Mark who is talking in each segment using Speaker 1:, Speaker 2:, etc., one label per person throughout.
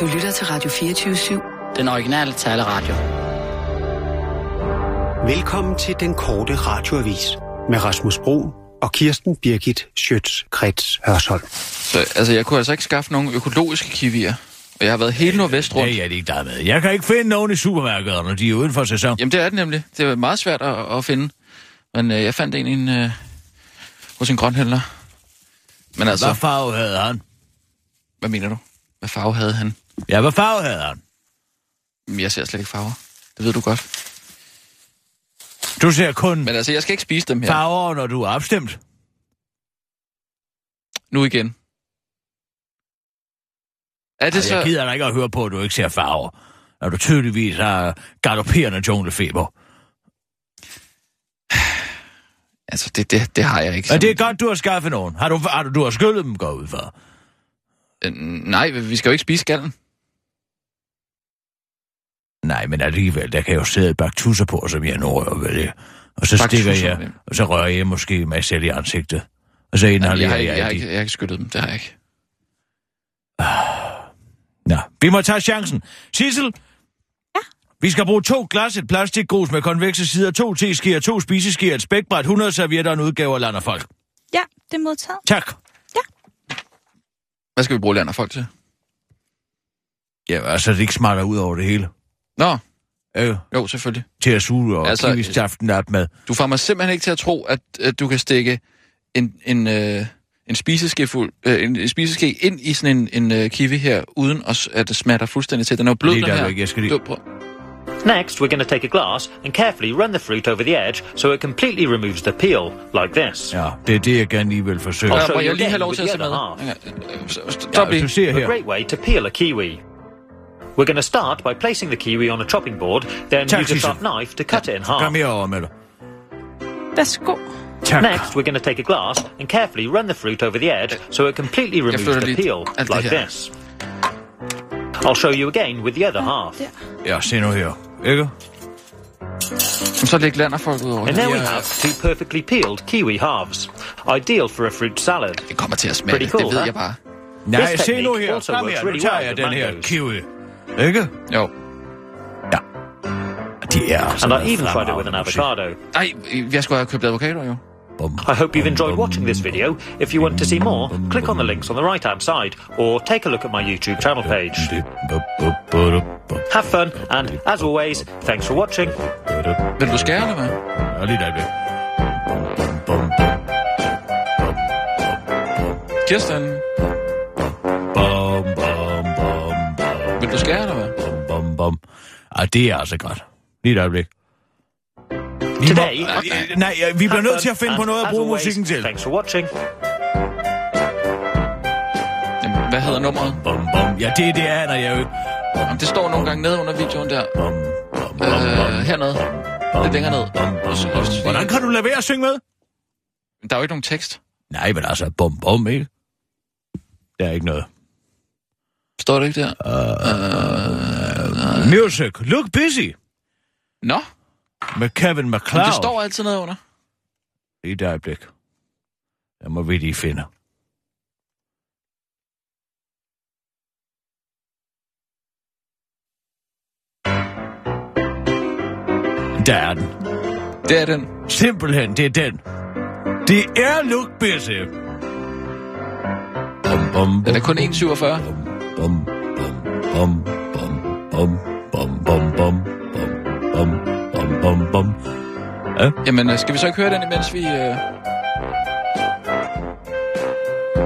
Speaker 1: Du lytter til Radio 24-7.
Speaker 2: Den originale taleradio.
Speaker 3: Velkommen til den korte radioavis med Rasmus Bro og Kirsten Birgit Schøtz-Krets Hørsholm.
Speaker 4: Så, altså, jeg kunne altså ikke skaffe nogen økologiske kiwier. Og jeg har været hele Nordvest rundt.
Speaker 5: Det er jeg ikke der med. Jeg kan ikke finde nogen i supermarkederne, de er uden for sæson.
Speaker 4: Jamen, det er det nemlig. Det er meget svært at, at finde. Men øh, jeg fandt en, i en øh, hos en grønhandler. Men altså,
Speaker 5: Hvad
Speaker 4: hvad,
Speaker 5: farve havde han?
Speaker 4: hvad mener du? Hvad farve havde han?
Speaker 5: Ja, hvad farve havde han?
Speaker 4: Jamen, Jeg ser slet ikke farver. Det ved du godt.
Speaker 5: Du ser kun
Speaker 4: Men altså, jeg skal ikke spise dem her.
Speaker 5: farver, når du er opstemt.
Speaker 4: Nu igen. Er det
Speaker 5: Det så... Jeg
Speaker 4: så...
Speaker 5: gider da ikke at høre på, at du ikke ser farver. Når du tydeligvis har galopperende junglefeber.
Speaker 4: Altså, det, det, det har jeg ikke.
Speaker 5: Men
Speaker 4: sådan.
Speaker 5: det er godt, du har skaffet nogen. Har du, har du, du har skyllet dem, går jeg ud for.
Speaker 4: Øh, Nej, vi skal jo ikke spise skallen.
Speaker 5: Nej, men alligevel, der kan jeg jo sidde et baktusser på, som jeg nu rører ved det. Og så
Speaker 4: Baktusser,
Speaker 5: stikker jeg,
Speaker 4: hvem?
Speaker 5: og så rører jeg måske mig selv i ansigtet. Og så
Speaker 4: Nej, jeg,
Speaker 5: inhalerer
Speaker 4: har
Speaker 5: jeg,
Speaker 4: ikke, jeg, har
Speaker 5: de.
Speaker 4: ikke, jeg har ikke skyttet dem. Det har jeg ikke.
Speaker 5: Nå, vi må tage chancen. Sissel? Ja? Vi skal bruge to glas, et plastikgrus med konvekse sider, to teskeer, to spiseskeer, et spækbræt, 100 servietter og en udgave af land og folk.
Speaker 6: Ja, det er modtaget.
Speaker 5: Tak.
Speaker 4: Hvad skal vi bruge land og folk til?
Speaker 5: Ja, altså, det ikke smatter ud over det hele.
Speaker 4: Nå,
Speaker 5: Øh,
Speaker 4: jo, selvfølgelig.
Speaker 5: til at suge og
Speaker 4: Altså,
Speaker 5: altså, kiwistaften op med.
Speaker 4: Du får mig simpelthen ikke til at tro, at, at du kan stikke en, en, øh, en, spiseske fuld, øh, en, en spiseske ind i sådan en, en øh, kiwi her, uden at, s- at det smatter fuldstændig til. Den er jo blød,
Speaker 5: Lige
Speaker 4: den
Speaker 5: der,
Speaker 4: her.
Speaker 5: Rikke, jeg skal lige-
Speaker 4: Du- prøv-
Speaker 7: Next, we're going to take a glass and carefully run the fruit over the edge so it completely removes the peel, like this.
Speaker 5: Ja, det er det, jeg gerne lige vil forsøge.
Speaker 7: Og
Speaker 4: prøv,
Speaker 7: så
Speaker 4: må
Speaker 7: er
Speaker 4: jeg
Speaker 7: det
Speaker 4: lige have
Speaker 7: den
Speaker 4: lov til at
Speaker 7: with
Speaker 4: se
Speaker 7: the
Speaker 4: med.
Speaker 7: other
Speaker 4: Øh, s- s-
Speaker 5: Ja,
Speaker 4: Stop
Speaker 5: hvis
Speaker 4: lige.
Speaker 5: du ser
Speaker 7: A
Speaker 5: her.
Speaker 7: great way to peel a kiwi. We're going to start by placing the kiwi on a chopping board, then
Speaker 5: Tak,
Speaker 7: use a
Speaker 5: Sissel.
Speaker 7: sharp knife to cut it in
Speaker 5: Kom
Speaker 7: half.
Speaker 5: herover med dig.
Speaker 6: Værsgo.
Speaker 5: Tak.
Speaker 7: Next, we're going to take a glass and carefully run the fruit over the edge so it completely removes
Speaker 4: flytter
Speaker 7: the
Speaker 4: lige
Speaker 7: peel,
Speaker 4: alt det
Speaker 7: like
Speaker 4: her.
Speaker 7: this. I'll show you again with the other half.
Speaker 6: Der.
Speaker 5: Ja, se nu her. Ikke?
Speaker 4: Så læg land og folk ud over
Speaker 7: And
Speaker 4: det.
Speaker 7: there we
Speaker 4: Jeg-
Speaker 7: have two perfectly peeled kiwi halves. Ideal for a fruit salad.
Speaker 4: Det kommer til at smage.
Speaker 7: Pretty cool,
Speaker 4: det ved
Speaker 7: huh?
Speaker 4: jeg bare.
Speaker 5: Nej,
Speaker 7: This
Speaker 5: se nu
Speaker 7: technique
Speaker 5: her.
Speaker 7: also
Speaker 5: Kom
Speaker 7: works
Speaker 5: her, nu
Speaker 7: really
Speaker 5: tager
Speaker 7: well
Speaker 5: jeg
Speaker 7: with
Speaker 5: den her
Speaker 7: mangoes.
Speaker 5: kiwi. Ikke?
Speaker 4: Jo.
Speaker 5: Det er altså
Speaker 7: And I
Speaker 5: noget
Speaker 7: even tried it with
Speaker 5: fremragende
Speaker 7: an
Speaker 5: musik.
Speaker 7: avocado.
Speaker 4: Ej, jeg skulle have købt advokater, jo.
Speaker 5: Bum,
Speaker 7: I hope you've
Speaker 5: bum,
Speaker 7: enjoyed
Speaker 5: bum,
Speaker 7: watching this
Speaker 5: bum.
Speaker 7: video. If you want to see more, click on the links on the right hand side or take a look at my YouTube channel page. Have fun, and as always, thanks for watching.
Speaker 4: Vil du skære, eller hvad?
Speaker 5: Ja, lige der ikke.
Speaker 4: Kirsten, vil du skære, eller hvad?
Speaker 5: Ej, det er altså godt. Lige et øjeblik. Vi
Speaker 7: Today,
Speaker 5: må, øh, nej, øh, vi bliver
Speaker 7: have
Speaker 5: nødt til
Speaker 7: fun,
Speaker 5: at finde på
Speaker 7: and
Speaker 5: noget at
Speaker 7: as
Speaker 5: bruge
Speaker 7: always,
Speaker 5: musikken til.
Speaker 7: Thanks for watching.
Speaker 4: Jamen, hvad hedder nummeret?
Speaker 5: Bum, bum. Ja, det, det aner jeg
Speaker 4: Øh,
Speaker 5: jo ikke.
Speaker 4: Jamen, det står nogle gange nede under videoen der.
Speaker 5: Bum, bum, bum, bum,
Speaker 4: Øh, hernede. Lidt længere ned.
Speaker 5: bum, bum,
Speaker 4: så-
Speaker 5: bum.
Speaker 4: så-
Speaker 5: Hvordan kan du lade være at synge med?
Speaker 4: Der er jo ikke nogen tekst.
Speaker 5: Nej, men altså, bum, bum, ikke? Der er ikke noget.
Speaker 4: Står det ikke der?
Speaker 5: Music, look busy
Speaker 4: Nå,
Speaker 5: med Kevin
Speaker 4: men
Speaker 5: MacLeod.
Speaker 4: det står altid nede under.
Speaker 5: Lige et øjeblik. Jeg må vi lige finde. Der er den.
Speaker 4: Det er den.
Speaker 5: Simpelthen, det er den. Det er Look Busy. Bum, bum,
Speaker 4: Den er kun 1,47.
Speaker 5: bum, bum, bum, bum, bum, bum, bum, bum, bum, bum, bum, bum.
Speaker 4: Jamen, øh, skal vi så ikke høre den, imens vi... Øh...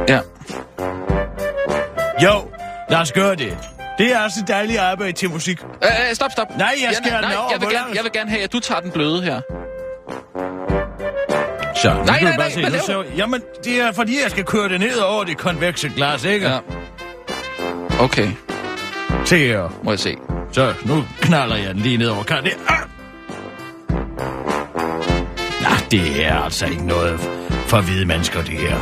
Speaker 4: Ja.
Speaker 5: Jo, lad os gøre det. Det er altså dejligt arbejde til musik.
Speaker 4: Øh, øh, stop, stop.
Speaker 5: Nej, jeg skærer den
Speaker 4: nej,
Speaker 5: over.
Speaker 4: jeg vil,
Speaker 5: Hvor
Speaker 4: gerne,
Speaker 5: langt?
Speaker 4: jeg vil gerne have, at du tager den bløde her.
Speaker 5: Så, nu
Speaker 4: Nej,
Speaker 5: kan
Speaker 4: nej,
Speaker 5: du bare
Speaker 4: nej,
Speaker 5: se,
Speaker 4: hvad
Speaker 5: nu
Speaker 4: laver
Speaker 5: så, jamen, det er fordi, jeg skal køre det ned over det konvekse glas, ikke?
Speaker 4: Ja.
Speaker 5: Ja.
Speaker 4: Okay,
Speaker 5: Se her.
Speaker 4: må jeg se.
Speaker 5: Så, nu knaller jeg den lige ned over kanten. Ah! Nå, det er altså ikke noget for hvide mennesker, det her.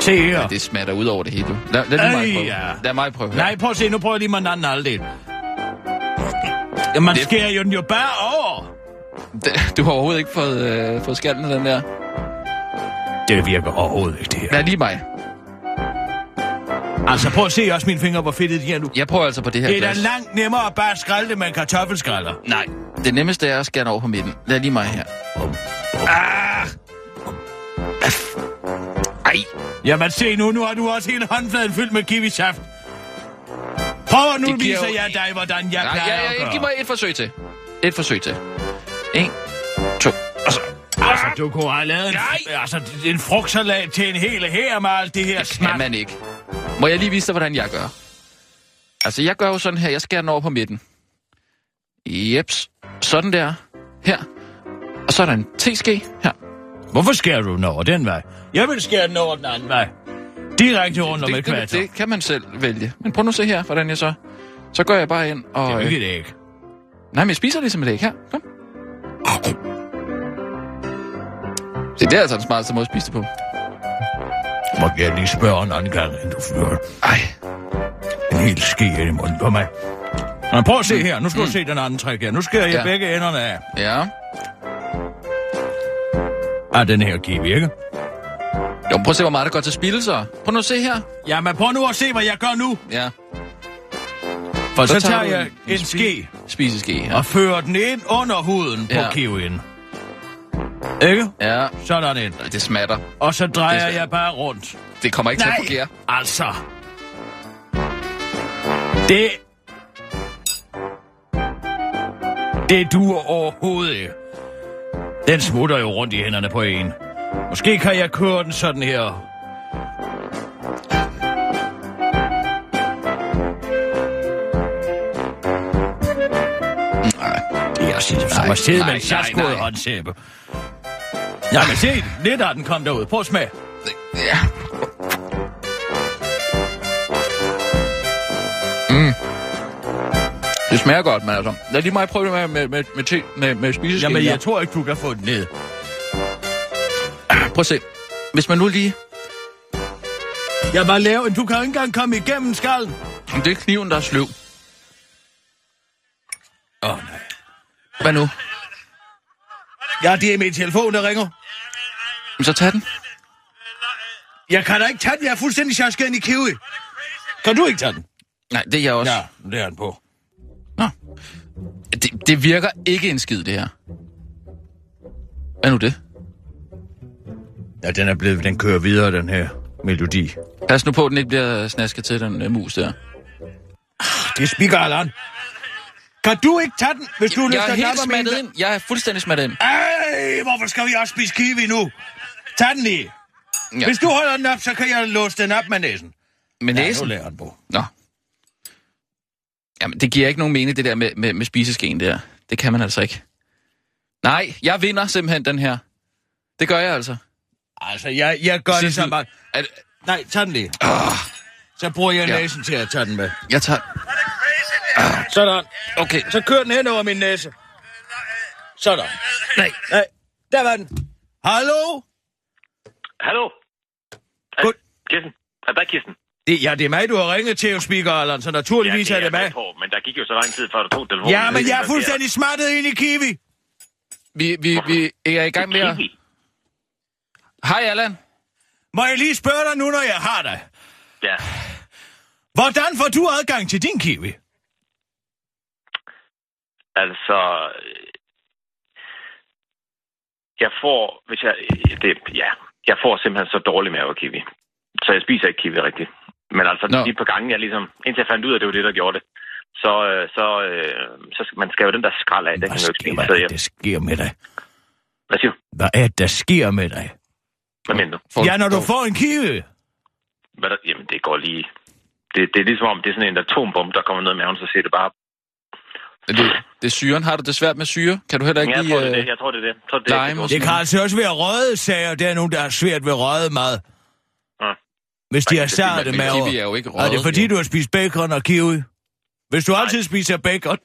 Speaker 5: Se her.
Speaker 4: Det smatter ud over det hele. Lad, lad, lad, mig
Speaker 5: Ej,
Speaker 4: prøve.
Speaker 5: ja.
Speaker 4: lad mig prøve.
Speaker 5: Nej, prøv at se, nu prøver jeg lige med den anden halvdel. Ja,
Speaker 4: Det-
Speaker 5: man det... skærer jo den jo bare over.
Speaker 4: Det- Du har overhovedet ikke fået, øh, fået skallen af den der.
Speaker 5: Det virker overhovedet ikke, det her.
Speaker 4: Lad lige mig.
Speaker 5: Altså, prøv at se også mine fingre, hvor fedtet de er nu.
Speaker 4: Jeg prøver altså på det her
Speaker 5: Det er da
Speaker 4: glas.
Speaker 5: langt nemmere at bare skralde med en kartoffelskræller.
Speaker 4: Nej, det nemmeste er at skære den over på midten. Lad lige mig her. Ah! Ej,
Speaker 5: Jamen se nu, nu har du også hele håndfladen fyldt med kiwisaft. Prøv at nu
Speaker 4: Det giver
Speaker 5: viser
Speaker 4: jo
Speaker 5: jeg
Speaker 4: i-
Speaker 5: dig, hvordan jeg
Speaker 4: nej,
Speaker 5: plejer
Speaker 4: ja, ja,
Speaker 5: at
Speaker 4: ja, giv
Speaker 5: gøre.
Speaker 4: mig et forsøg til. Et forsøg til. En, to. Og så.
Speaker 5: Altså, du kunne have lavet en,
Speaker 4: Nej!
Speaker 5: altså, en frugtsalat til en hel her med alt det her
Speaker 4: Kan
Speaker 5: snak.
Speaker 4: man ikke. Må jeg lige vise dig, hvordan jeg gør? Altså, jeg gør jo sådan her. Jeg skærer den over på midten. Jeps. Sådan der. Her. Og så er der en teske her.
Speaker 5: Hvorfor skærer du den over den vej? Jeg vil skære den over den anden vej. Direkte rundt om et
Speaker 4: det, det,
Speaker 5: kvarter.
Speaker 4: det kan man selv vælge. Men prøv nu at se her, hvordan jeg så... Så går jeg bare ind og...
Speaker 5: Det er
Speaker 4: øh,
Speaker 5: ikke et æg.
Speaker 4: Nej, men jeg spiser ligesom et æg her. Kom. Se, det er altså den smarteste måde at spise det på.
Speaker 5: Må jeg lige spørge en anden gang, inden du fører
Speaker 4: Ej,
Speaker 5: en hel ske ind i munden på mig. Men prøv at se her. Nu skal du se den anden træk her. Nu skærer jeg
Speaker 4: Mm. Ja.
Speaker 5: begge enderne af.
Speaker 4: ja.
Speaker 5: Ah, den her kiwi, ikke?
Speaker 4: Jo, men prøv at se, hvor meget der går til spil, så. Prøv nu at se her.
Speaker 5: Jamen, prøv nu at se, hvad jeg gør nu.
Speaker 4: Ja.
Speaker 5: For så, tager jeg
Speaker 4: du
Speaker 5: en, en ske
Speaker 4: Spiseske, ja.
Speaker 5: og fører den ind under huden på
Speaker 4: Ja.
Speaker 5: kiwien. Ikke?
Speaker 4: Ja,
Speaker 5: Sådan ind.
Speaker 4: Ej, det smatter.
Speaker 5: Og så
Speaker 4: Det
Speaker 5: drejer
Speaker 4: skal-
Speaker 5: jeg bare rundt.
Speaker 4: Det kommer ikke til at fungere.
Speaker 5: altså. Det... Det duer overhovedet ikke. Den smutter jo rundt i hænderne på en. Måske kan jeg køre den sådan her. Det er simpelthen som at sidde med
Speaker 4: nej,
Speaker 5: en
Speaker 4: nej,
Speaker 5: saskåret
Speaker 4: nej.
Speaker 5: håndsæbe. Ja, men se, lidt af den kom derud. Prøv at smage.
Speaker 4: Ja. Mm. Det smager godt, men altså. Lad lige mig prøve det med, med, med, med, te, med, med spiseskeen.
Speaker 5: Jamen,
Speaker 4: her.
Speaker 5: jeg tror ikke, du kan få den ned.
Speaker 4: Prøv at se. Hvis man nu lige...
Speaker 5: Jeg var lav, du kan jo ikke engang komme igennem skallen.
Speaker 4: Jamen, Det er kniven, der er sløv.
Speaker 5: Åh, oh, nej.
Speaker 4: Hvad nu?
Speaker 5: Ja, det er min telefon, der ringer.
Speaker 4: Jamen, Så tag den.
Speaker 5: Jeg kan da ikke tage den, jeg er fuldstændig sjasket ind i kiwi. Kan du ikke tage den?
Speaker 4: Nej, det er jeg også.
Speaker 5: Ja, det er den på.
Speaker 4: Det, det virker ikke en skid, det her. Hvad nu det?
Speaker 5: Ja, den er blevet, den kører videre, den her melodi.
Speaker 4: Pas nu på, at den ikke bliver snasket til, den uh, mus der.
Speaker 5: Det spikker alderen. Kan du ikke tage den, hvis du løfter
Speaker 4: Jeg er
Speaker 5: den
Speaker 4: helt
Speaker 5: op om en...
Speaker 4: smattet ind. Jeg er fuldstændig smattet ind.
Speaker 5: Ej, hvorfor skal vi også spise kiwi nu? Tag den lige.
Speaker 4: Ja.
Speaker 5: Ja. Hvis du holder den op, så kan jeg låse den op med næsen.
Speaker 4: Med
Speaker 5: Ja, nu
Speaker 4: næsen?
Speaker 5: lærer den på.
Speaker 4: Nå. Jamen, det giver ikke nogen mening, det der med, med, med spiseskeen der. Det kan man altså ikke. Nej, jeg vinder simpelthen den her. Det gør jeg altså.
Speaker 5: Altså, jeg, jeg gør det
Speaker 4: Sissel,
Speaker 5: så meget.
Speaker 4: Er det-
Speaker 5: Nej, tag den lige. Så bruger jeg
Speaker 4: Ah. Ja.
Speaker 5: næsen til at tage den med.
Speaker 4: Jeg tager...
Speaker 5: Sådan.
Speaker 4: Okay,
Speaker 5: Så kører den hen over min næse. Sådan.
Speaker 4: nej.
Speaker 5: Nej, der var den. Hallo?
Speaker 8: Hallo?
Speaker 5: Good.
Speaker 8: Kirsten? Er der Kirsten?
Speaker 5: Det, ja, det er mig, du har ringet til, jo, speaker, Allan, så naturligvis er det mig.
Speaker 8: på, men der gik jo så lang tid, før du tog telefonen.
Speaker 5: Ja, men jeg er fuldstændig smattet ind i kiwi.
Speaker 4: Vi, vi, vi er i gang med at... Hej, Allan.
Speaker 5: Må jeg lige spørge dig nu, når jeg har dig?
Speaker 8: Ja.
Speaker 5: Hvordan får du adgang til din kiwi?
Speaker 8: Altså, øh, jeg får, hvis jeg, øh, det, ja, jeg får simpelthen så dårlig mave af kiwi. Så jeg spiser ikke kiwi rigtigt. Men altså,
Speaker 4: Nå.
Speaker 8: no. de par gange, jeg ligesom, indtil jeg fandt ud af, at det var det, der gjorde det, så, øh, så, øh, så skal- man skal jo den der skrald af, den kan man jo ikke spise. Så jeg,
Speaker 5: der sker med dig?
Speaker 8: hvad siger du?
Speaker 5: Hvad er det, der sker med dig?
Speaker 8: Hvad mener du?
Speaker 4: Får-
Speaker 5: Ja, når du får en kiwi.
Speaker 8: Hvad der, jamen, det går lige... Det, det er ligesom om, det er sådan en atombombe, der kommer ned i maven, så siger det bare...
Speaker 4: Er Det, det er syren. Har du det svært med syre? Kan du heller ikke
Speaker 8: Jeg
Speaker 4: lide...
Speaker 8: tror, det er
Speaker 4: øh,
Speaker 8: det. Jeg tror, det er det. Jeg tror, det, er det,
Speaker 4: lime
Speaker 8: det,
Speaker 4: og
Speaker 5: Det kan altså også være røde sager. Der er nogen, der har svært ved røde mad.
Speaker 8: Ja.
Speaker 5: Hvis de har
Speaker 8: Ah. Nej, det er fordi,
Speaker 5: sarte
Speaker 4: Men kiwi
Speaker 5: maver.
Speaker 4: er jo ikke røget.
Speaker 5: Er det fordi, du har spist bacon og kiwi? Hvis du altid spiser bacon,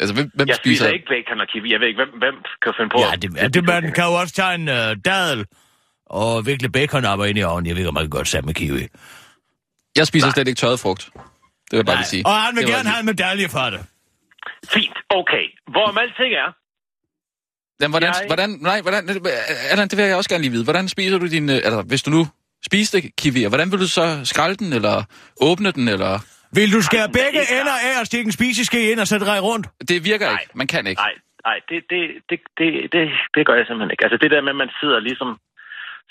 Speaker 4: Altså, hvem, hvem
Speaker 8: jeg spiser
Speaker 4: spiser...
Speaker 8: ikke bacon og kiwi. Jeg ved ikke, hvem, hvem kan finde på...
Speaker 5: Ja, det, det, det man kan jo også tage en øh, dadel og vikle bacon op og ind i ovnen. Jeg ved ikke, om man kan godt sammen med kiwi.
Speaker 4: Jeg spiser slet ikke tørret frugt. Det vil jeg bare lige sige.
Speaker 5: Og han vil
Speaker 4: Det var
Speaker 5: gerne
Speaker 4: lige-
Speaker 5: have en medalje for det.
Speaker 8: Fint, okay. Hvorom alting er,
Speaker 4: Jamen, hvordan,
Speaker 8: Jeg-
Speaker 4: jeg... hvordan, nej, hvordan, Allan, det vil jeg også gerne lige vide. Hvordan spiser du din, øh, altså hvis du nu spiste kiwier, hvordan vil du så skralde den, eller åbne den, eller...
Speaker 5: Vil du skære
Speaker 8: Ej,
Speaker 5: begge
Speaker 8: nej.
Speaker 5: ender af og stikke en spiseske ind og sætte dig rundt?
Speaker 4: Det virker
Speaker 8: Nej.
Speaker 4: ikke. Man kan ikke.
Speaker 8: Nej, nej det, det, det, det, det, det gør jeg simpelthen ikke. Altså det der med, at man sidder ligesom,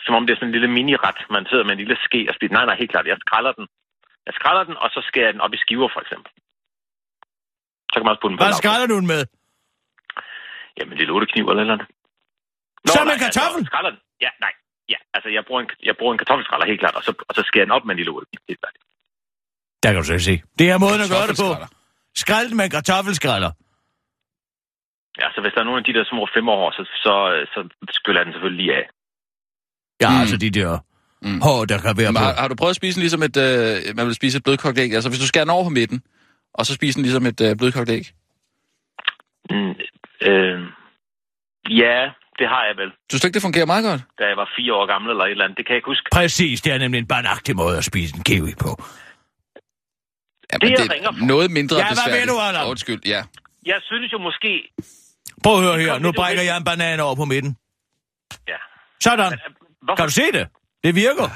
Speaker 8: som om det er sådan en lille mini-ret, man sidder med en lille ske og spiser. Nej, nej, helt klart, jeg skræller den. Jeg skræller den, og så skærer jeg den op i skiver, for eksempel. Så kan man også putte den på
Speaker 5: Hvad
Speaker 8: en
Speaker 5: skræller du den med?
Speaker 8: lavbrød. Jamen, det er lortekniv eller et eller andet.
Speaker 5: Som
Speaker 8: nej,
Speaker 5: en kartoffel?
Speaker 8: Altså, skræller den. Ja, nej. Ja, altså jeg bruger en, jeg bruger en kartoffelskræller helt klart, og så, og så skærer jeg den op med en lille olie. Helt klart.
Speaker 5: Der kan du selv se. Det er måden at gøre det på.
Speaker 4: Kartoffelskræller.
Speaker 5: Skræl den med en kartoffelskræller.
Speaker 8: Ja, så hvis der er nogen af de der små fem år, så, så, så skyller jeg den selvfølgelig lige af.
Speaker 5: Ja,
Speaker 4: Mm.
Speaker 5: altså de der
Speaker 4: Mm.
Speaker 5: hår, der kan være
Speaker 4: Jamen, har,
Speaker 5: på.
Speaker 4: har du prøvet at spise den ligesom et, øh, man vil spise et blødkogt æg? Altså hvis du skærer den over på midten, og så spiser den ligesom et øh, blødkogt æg?
Speaker 8: Mm, øh, ja, det har jeg vel.
Speaker 4: Du synes ikke, det fungerer meget godt?
Speaker 8: Da jeg var fire år gammel eller et eller andet. Det kan jeg ikke huske.
Speaker 5: Præcis, det er nemlig en barnagtig måde at spise en kiwi på.
Speaker 4: Ja,
Speaker 8: Det,
Speaker 4: men
Speaker 8: jeg ringer for.
Speaker 4: noget mindre
Speaker 5: Ja, hvad
Speaker 4: besværligt.
Speaker 5: ved du, Allan?
Speaker 4: Undskyld, ja.
Speaker 8: Jeg synes jo måske...
Speaker 5: Prøv at høre her,
Speaker 8: Kom
Speaker 5: nu
Speaker 8: lidt
Speaker 5: brækker
Speaker 8: ud.
Speaker 5: jeg en banan over på midten.
Speaker 8: Ja.
Speaker 5: Sådan.
Speaker 8: Hvorfor?
Speaker 5: Kan du se det? Det virker.
Speaker 4: Men,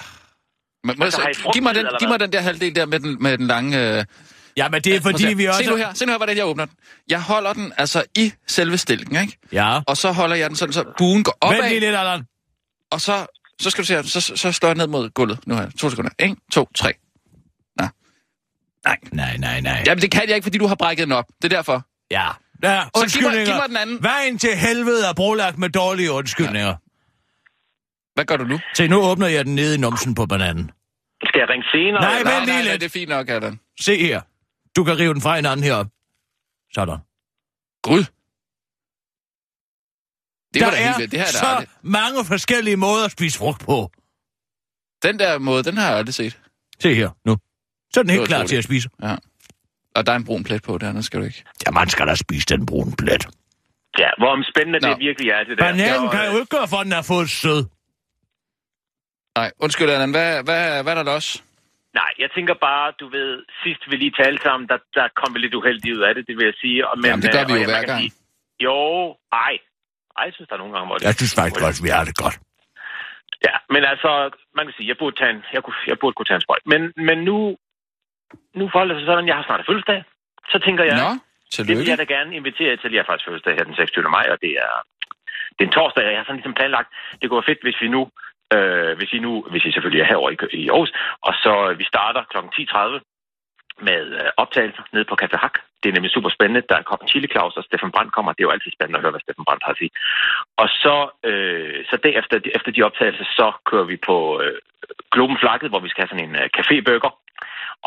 Speaker 4: må jeg
Speaker 8: Altså,
Speaker 4: så-
Speaker 8: har I frugtfed,
Speaker 4: giv, mig den,
Speaker 8: eller
Speaker 4: giv mig
Speaker 8: hvad?
Speaker 4: den der halvdel der med den, med den lange... Øh,
Speaker 5: Ja, men det er
Speaker 4: prøv
Speaker 5: fordi,
Speaker 4: at
Speaker 5: vi
Speaker 4: se.
Speaker 5: også...
Speaker 4: Se nu her, se nu her, hvordan jeg åbner den. Jeg holder den altså i selve stilken, ikke?
Speaker 5: Ja.
Speaker 4: Og så holder jeg den sådan, så buen går
Speaker 5: Vent lige
Speaker 4: opad,
Speaker 5: lidt, Allan.
Speaker 4: og så, så skal du se her, så, så slår jeg ned mod gulvet. Nu her, to sekunder. En, to, tre.
Speaker 5: Nej, nej, nej.
Speaker 4: Jamen, det kan jeg ikke, fordi du har brækket den op. Det er derfor.
Speaker 5: Ja. ja.
Speaker 4: mig-
Speaker 5: Undskyldninger.
Speaker 4: giv mig den anden.
Speaker 5: Vejen til helvede er brolagt med dårlige undskyldninger.
Speaker 4: Hvad gør du nu?
Speaker 5: Se, nu åbner jeg den nede i numsen på bananen.
Speaker 8: Skal jeg ringe senere?
Speaker 5: Nej,
Speaker 8: eller?
Speaker 5: vent lige
Speaker 4: nej, nej,
Speaker 5: lidt.
Speaker 4: det er fint nok, Adam.
Speaker 5: Se her. Du kan rive den fra hinanden heroppe. Sådan.
Speaker 4: Gud. Det var
Speaker 5: der
Speaker 4: da
Speaker 5: er
Speaker 4: helt vildt. Det her er da
Speaker 5: så
Speaker 4: aldrig-
Speaker 5: mange forskellige måder at spise frugt på.
Speaker 4: Den der måde, den har jeg aldrig set.
Speaker 5: Se her, nu. Så er den
Speaker 4: Det var
Speaker 5: helt klar
Speaker 4: utroligt.
Speaker 5: til at spise.
Speaker 4: Og der er en brun plet på der, den skal du ikke.
Speaker 5: Ja, man skal da spise den brune plet.
Speaker 8: Ja, hvor spændende
Speaker 4: Nå.
Speaker 8: det virkelig er, det der. øh,
Speaker 5: Bananen
Speaker 8: Jeg-
Speaker 5: kan jo ikke gøre for, at den er fået sød.
Speaker 4: Nej, undskyld, Allan. Hvad, hvad, hvad er der los?
Speaker 8: Nej, jeg tænker bare, du ved, sidst vi lige talte sammen, der, der kom vi lidt uheldigt ud af det, det vil jeg sige. Og, men,
Speaker 4: Jamen, det gør
Speaker 8: øh,
Speaker 4: vi
Speaker 8: og
Speaker 4: jo
Speaker 8: jeg-
Speaker 4: hver
Speaker 8: man kan
Speaker 4: gang.
Speaker 8: sige- Jo, ej. Ej, jeg synes, der er nogle gange, hvor det...
Speaker 5: Jeg synes faktisk også, vi har det godt.
Speaker 8: Ja, men altså, man kan sige, jeg burde, tage en, jeg, kunne, jeg burde kunne tage en sprøjt. Men, men nu, nu forholder det sig sådan, jeg har snart fødselsdag. Så tænker jeg,
Speaker 4: Nå,
Speaker 8: det vil
Speaker 4: tillykke.
Speaker 8: jeg da gerne invitere jer til. Jeg har faktisk fødselsdag her den 26. maj, og det er, det er en torsdag, og jeg har sådan ligesom planlagt, det kunne være fedt, hvis vi nu, øh, hvis I nu, hvis I selvfølgelig er herovre i, Kø- i Aarhus, og så øh, vi starter kl. 10.30 med øh, optagelser nede på Café Hak. Det er nemlig super spændende. Der kommer Chili Claus, og Steffen Brandt kommer. Det er jo altid spændende at høre, hvad Steffen Brandt har at sige. Og så, øh, så derefter, efter de optagelser, så kører vi på øh, Globen Flakket, hvor vi skal have sådan en øh, caféburger.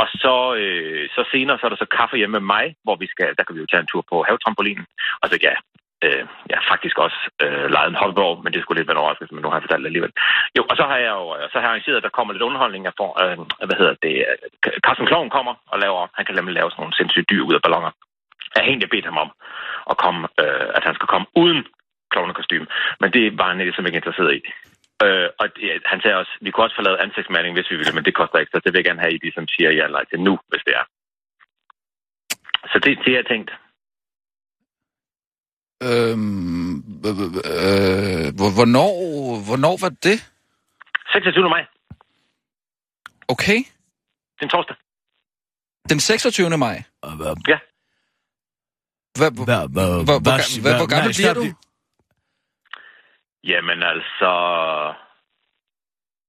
Speaker 8: Og så, øh, så senere, så er der så kaffe hjemme med mig, hvor vi skal, der kan vi jo tage en tur på havetrampolinen. Og så ja, øh, jeg har faktisk også øh, lejet en hoppeborg, men det skulle lidt være en overraskelse, men nu har jeg fortalt det alligevel. Jo, og så har jeg jo øh, så har jeg arrangeret, at der kommer lidt underholdning. Jeg får, øh, hvad hedder det, øh, Carsten Kloven kommer og laver, han kan nemlig lave sådan nogle sindssygt dyr ud af ballonger. Jeg har egentlig bedt ham om, at, komme, øh, at han skal komme uden klovnekostyme, men det var han ligesom ikke interesseret i. Øh, og det, han sagde også, vi kunne også få lavet ansigtsmaling, hvis vi ville, men det koster ikke, så det vil jeg gerne have, I ligesom siger ja eller nej til nu, hvis det er. Så det, det har jeg tænkt.
Speaker 4: Øhm, øh, øh, hvor- hvornår, hvornår var det?
Speaker 8: 26. maj,
Speaker 4: Okay.
Speaker 8: den torsdag.
Speaker 4: Den 26. maj.
Speaker 5: Og hvad-
Speaker 4: Hvad,
Speaker 5: hvad-
Speaker 4: hvor,
Speaker 5: hvad- hvad-
Speaker 4: hvor,
Speaker 5: hvad-
Speaker 4: ga- hvad, hvor
Speaker 5: hvad-
Speaker 4: gammel
Speaker 5: nej,
Speaker 4: bliver
Speaker 5: stop
Speaker 4: du?
Speaker 5: lige.
Speaker 8: Jamen altså,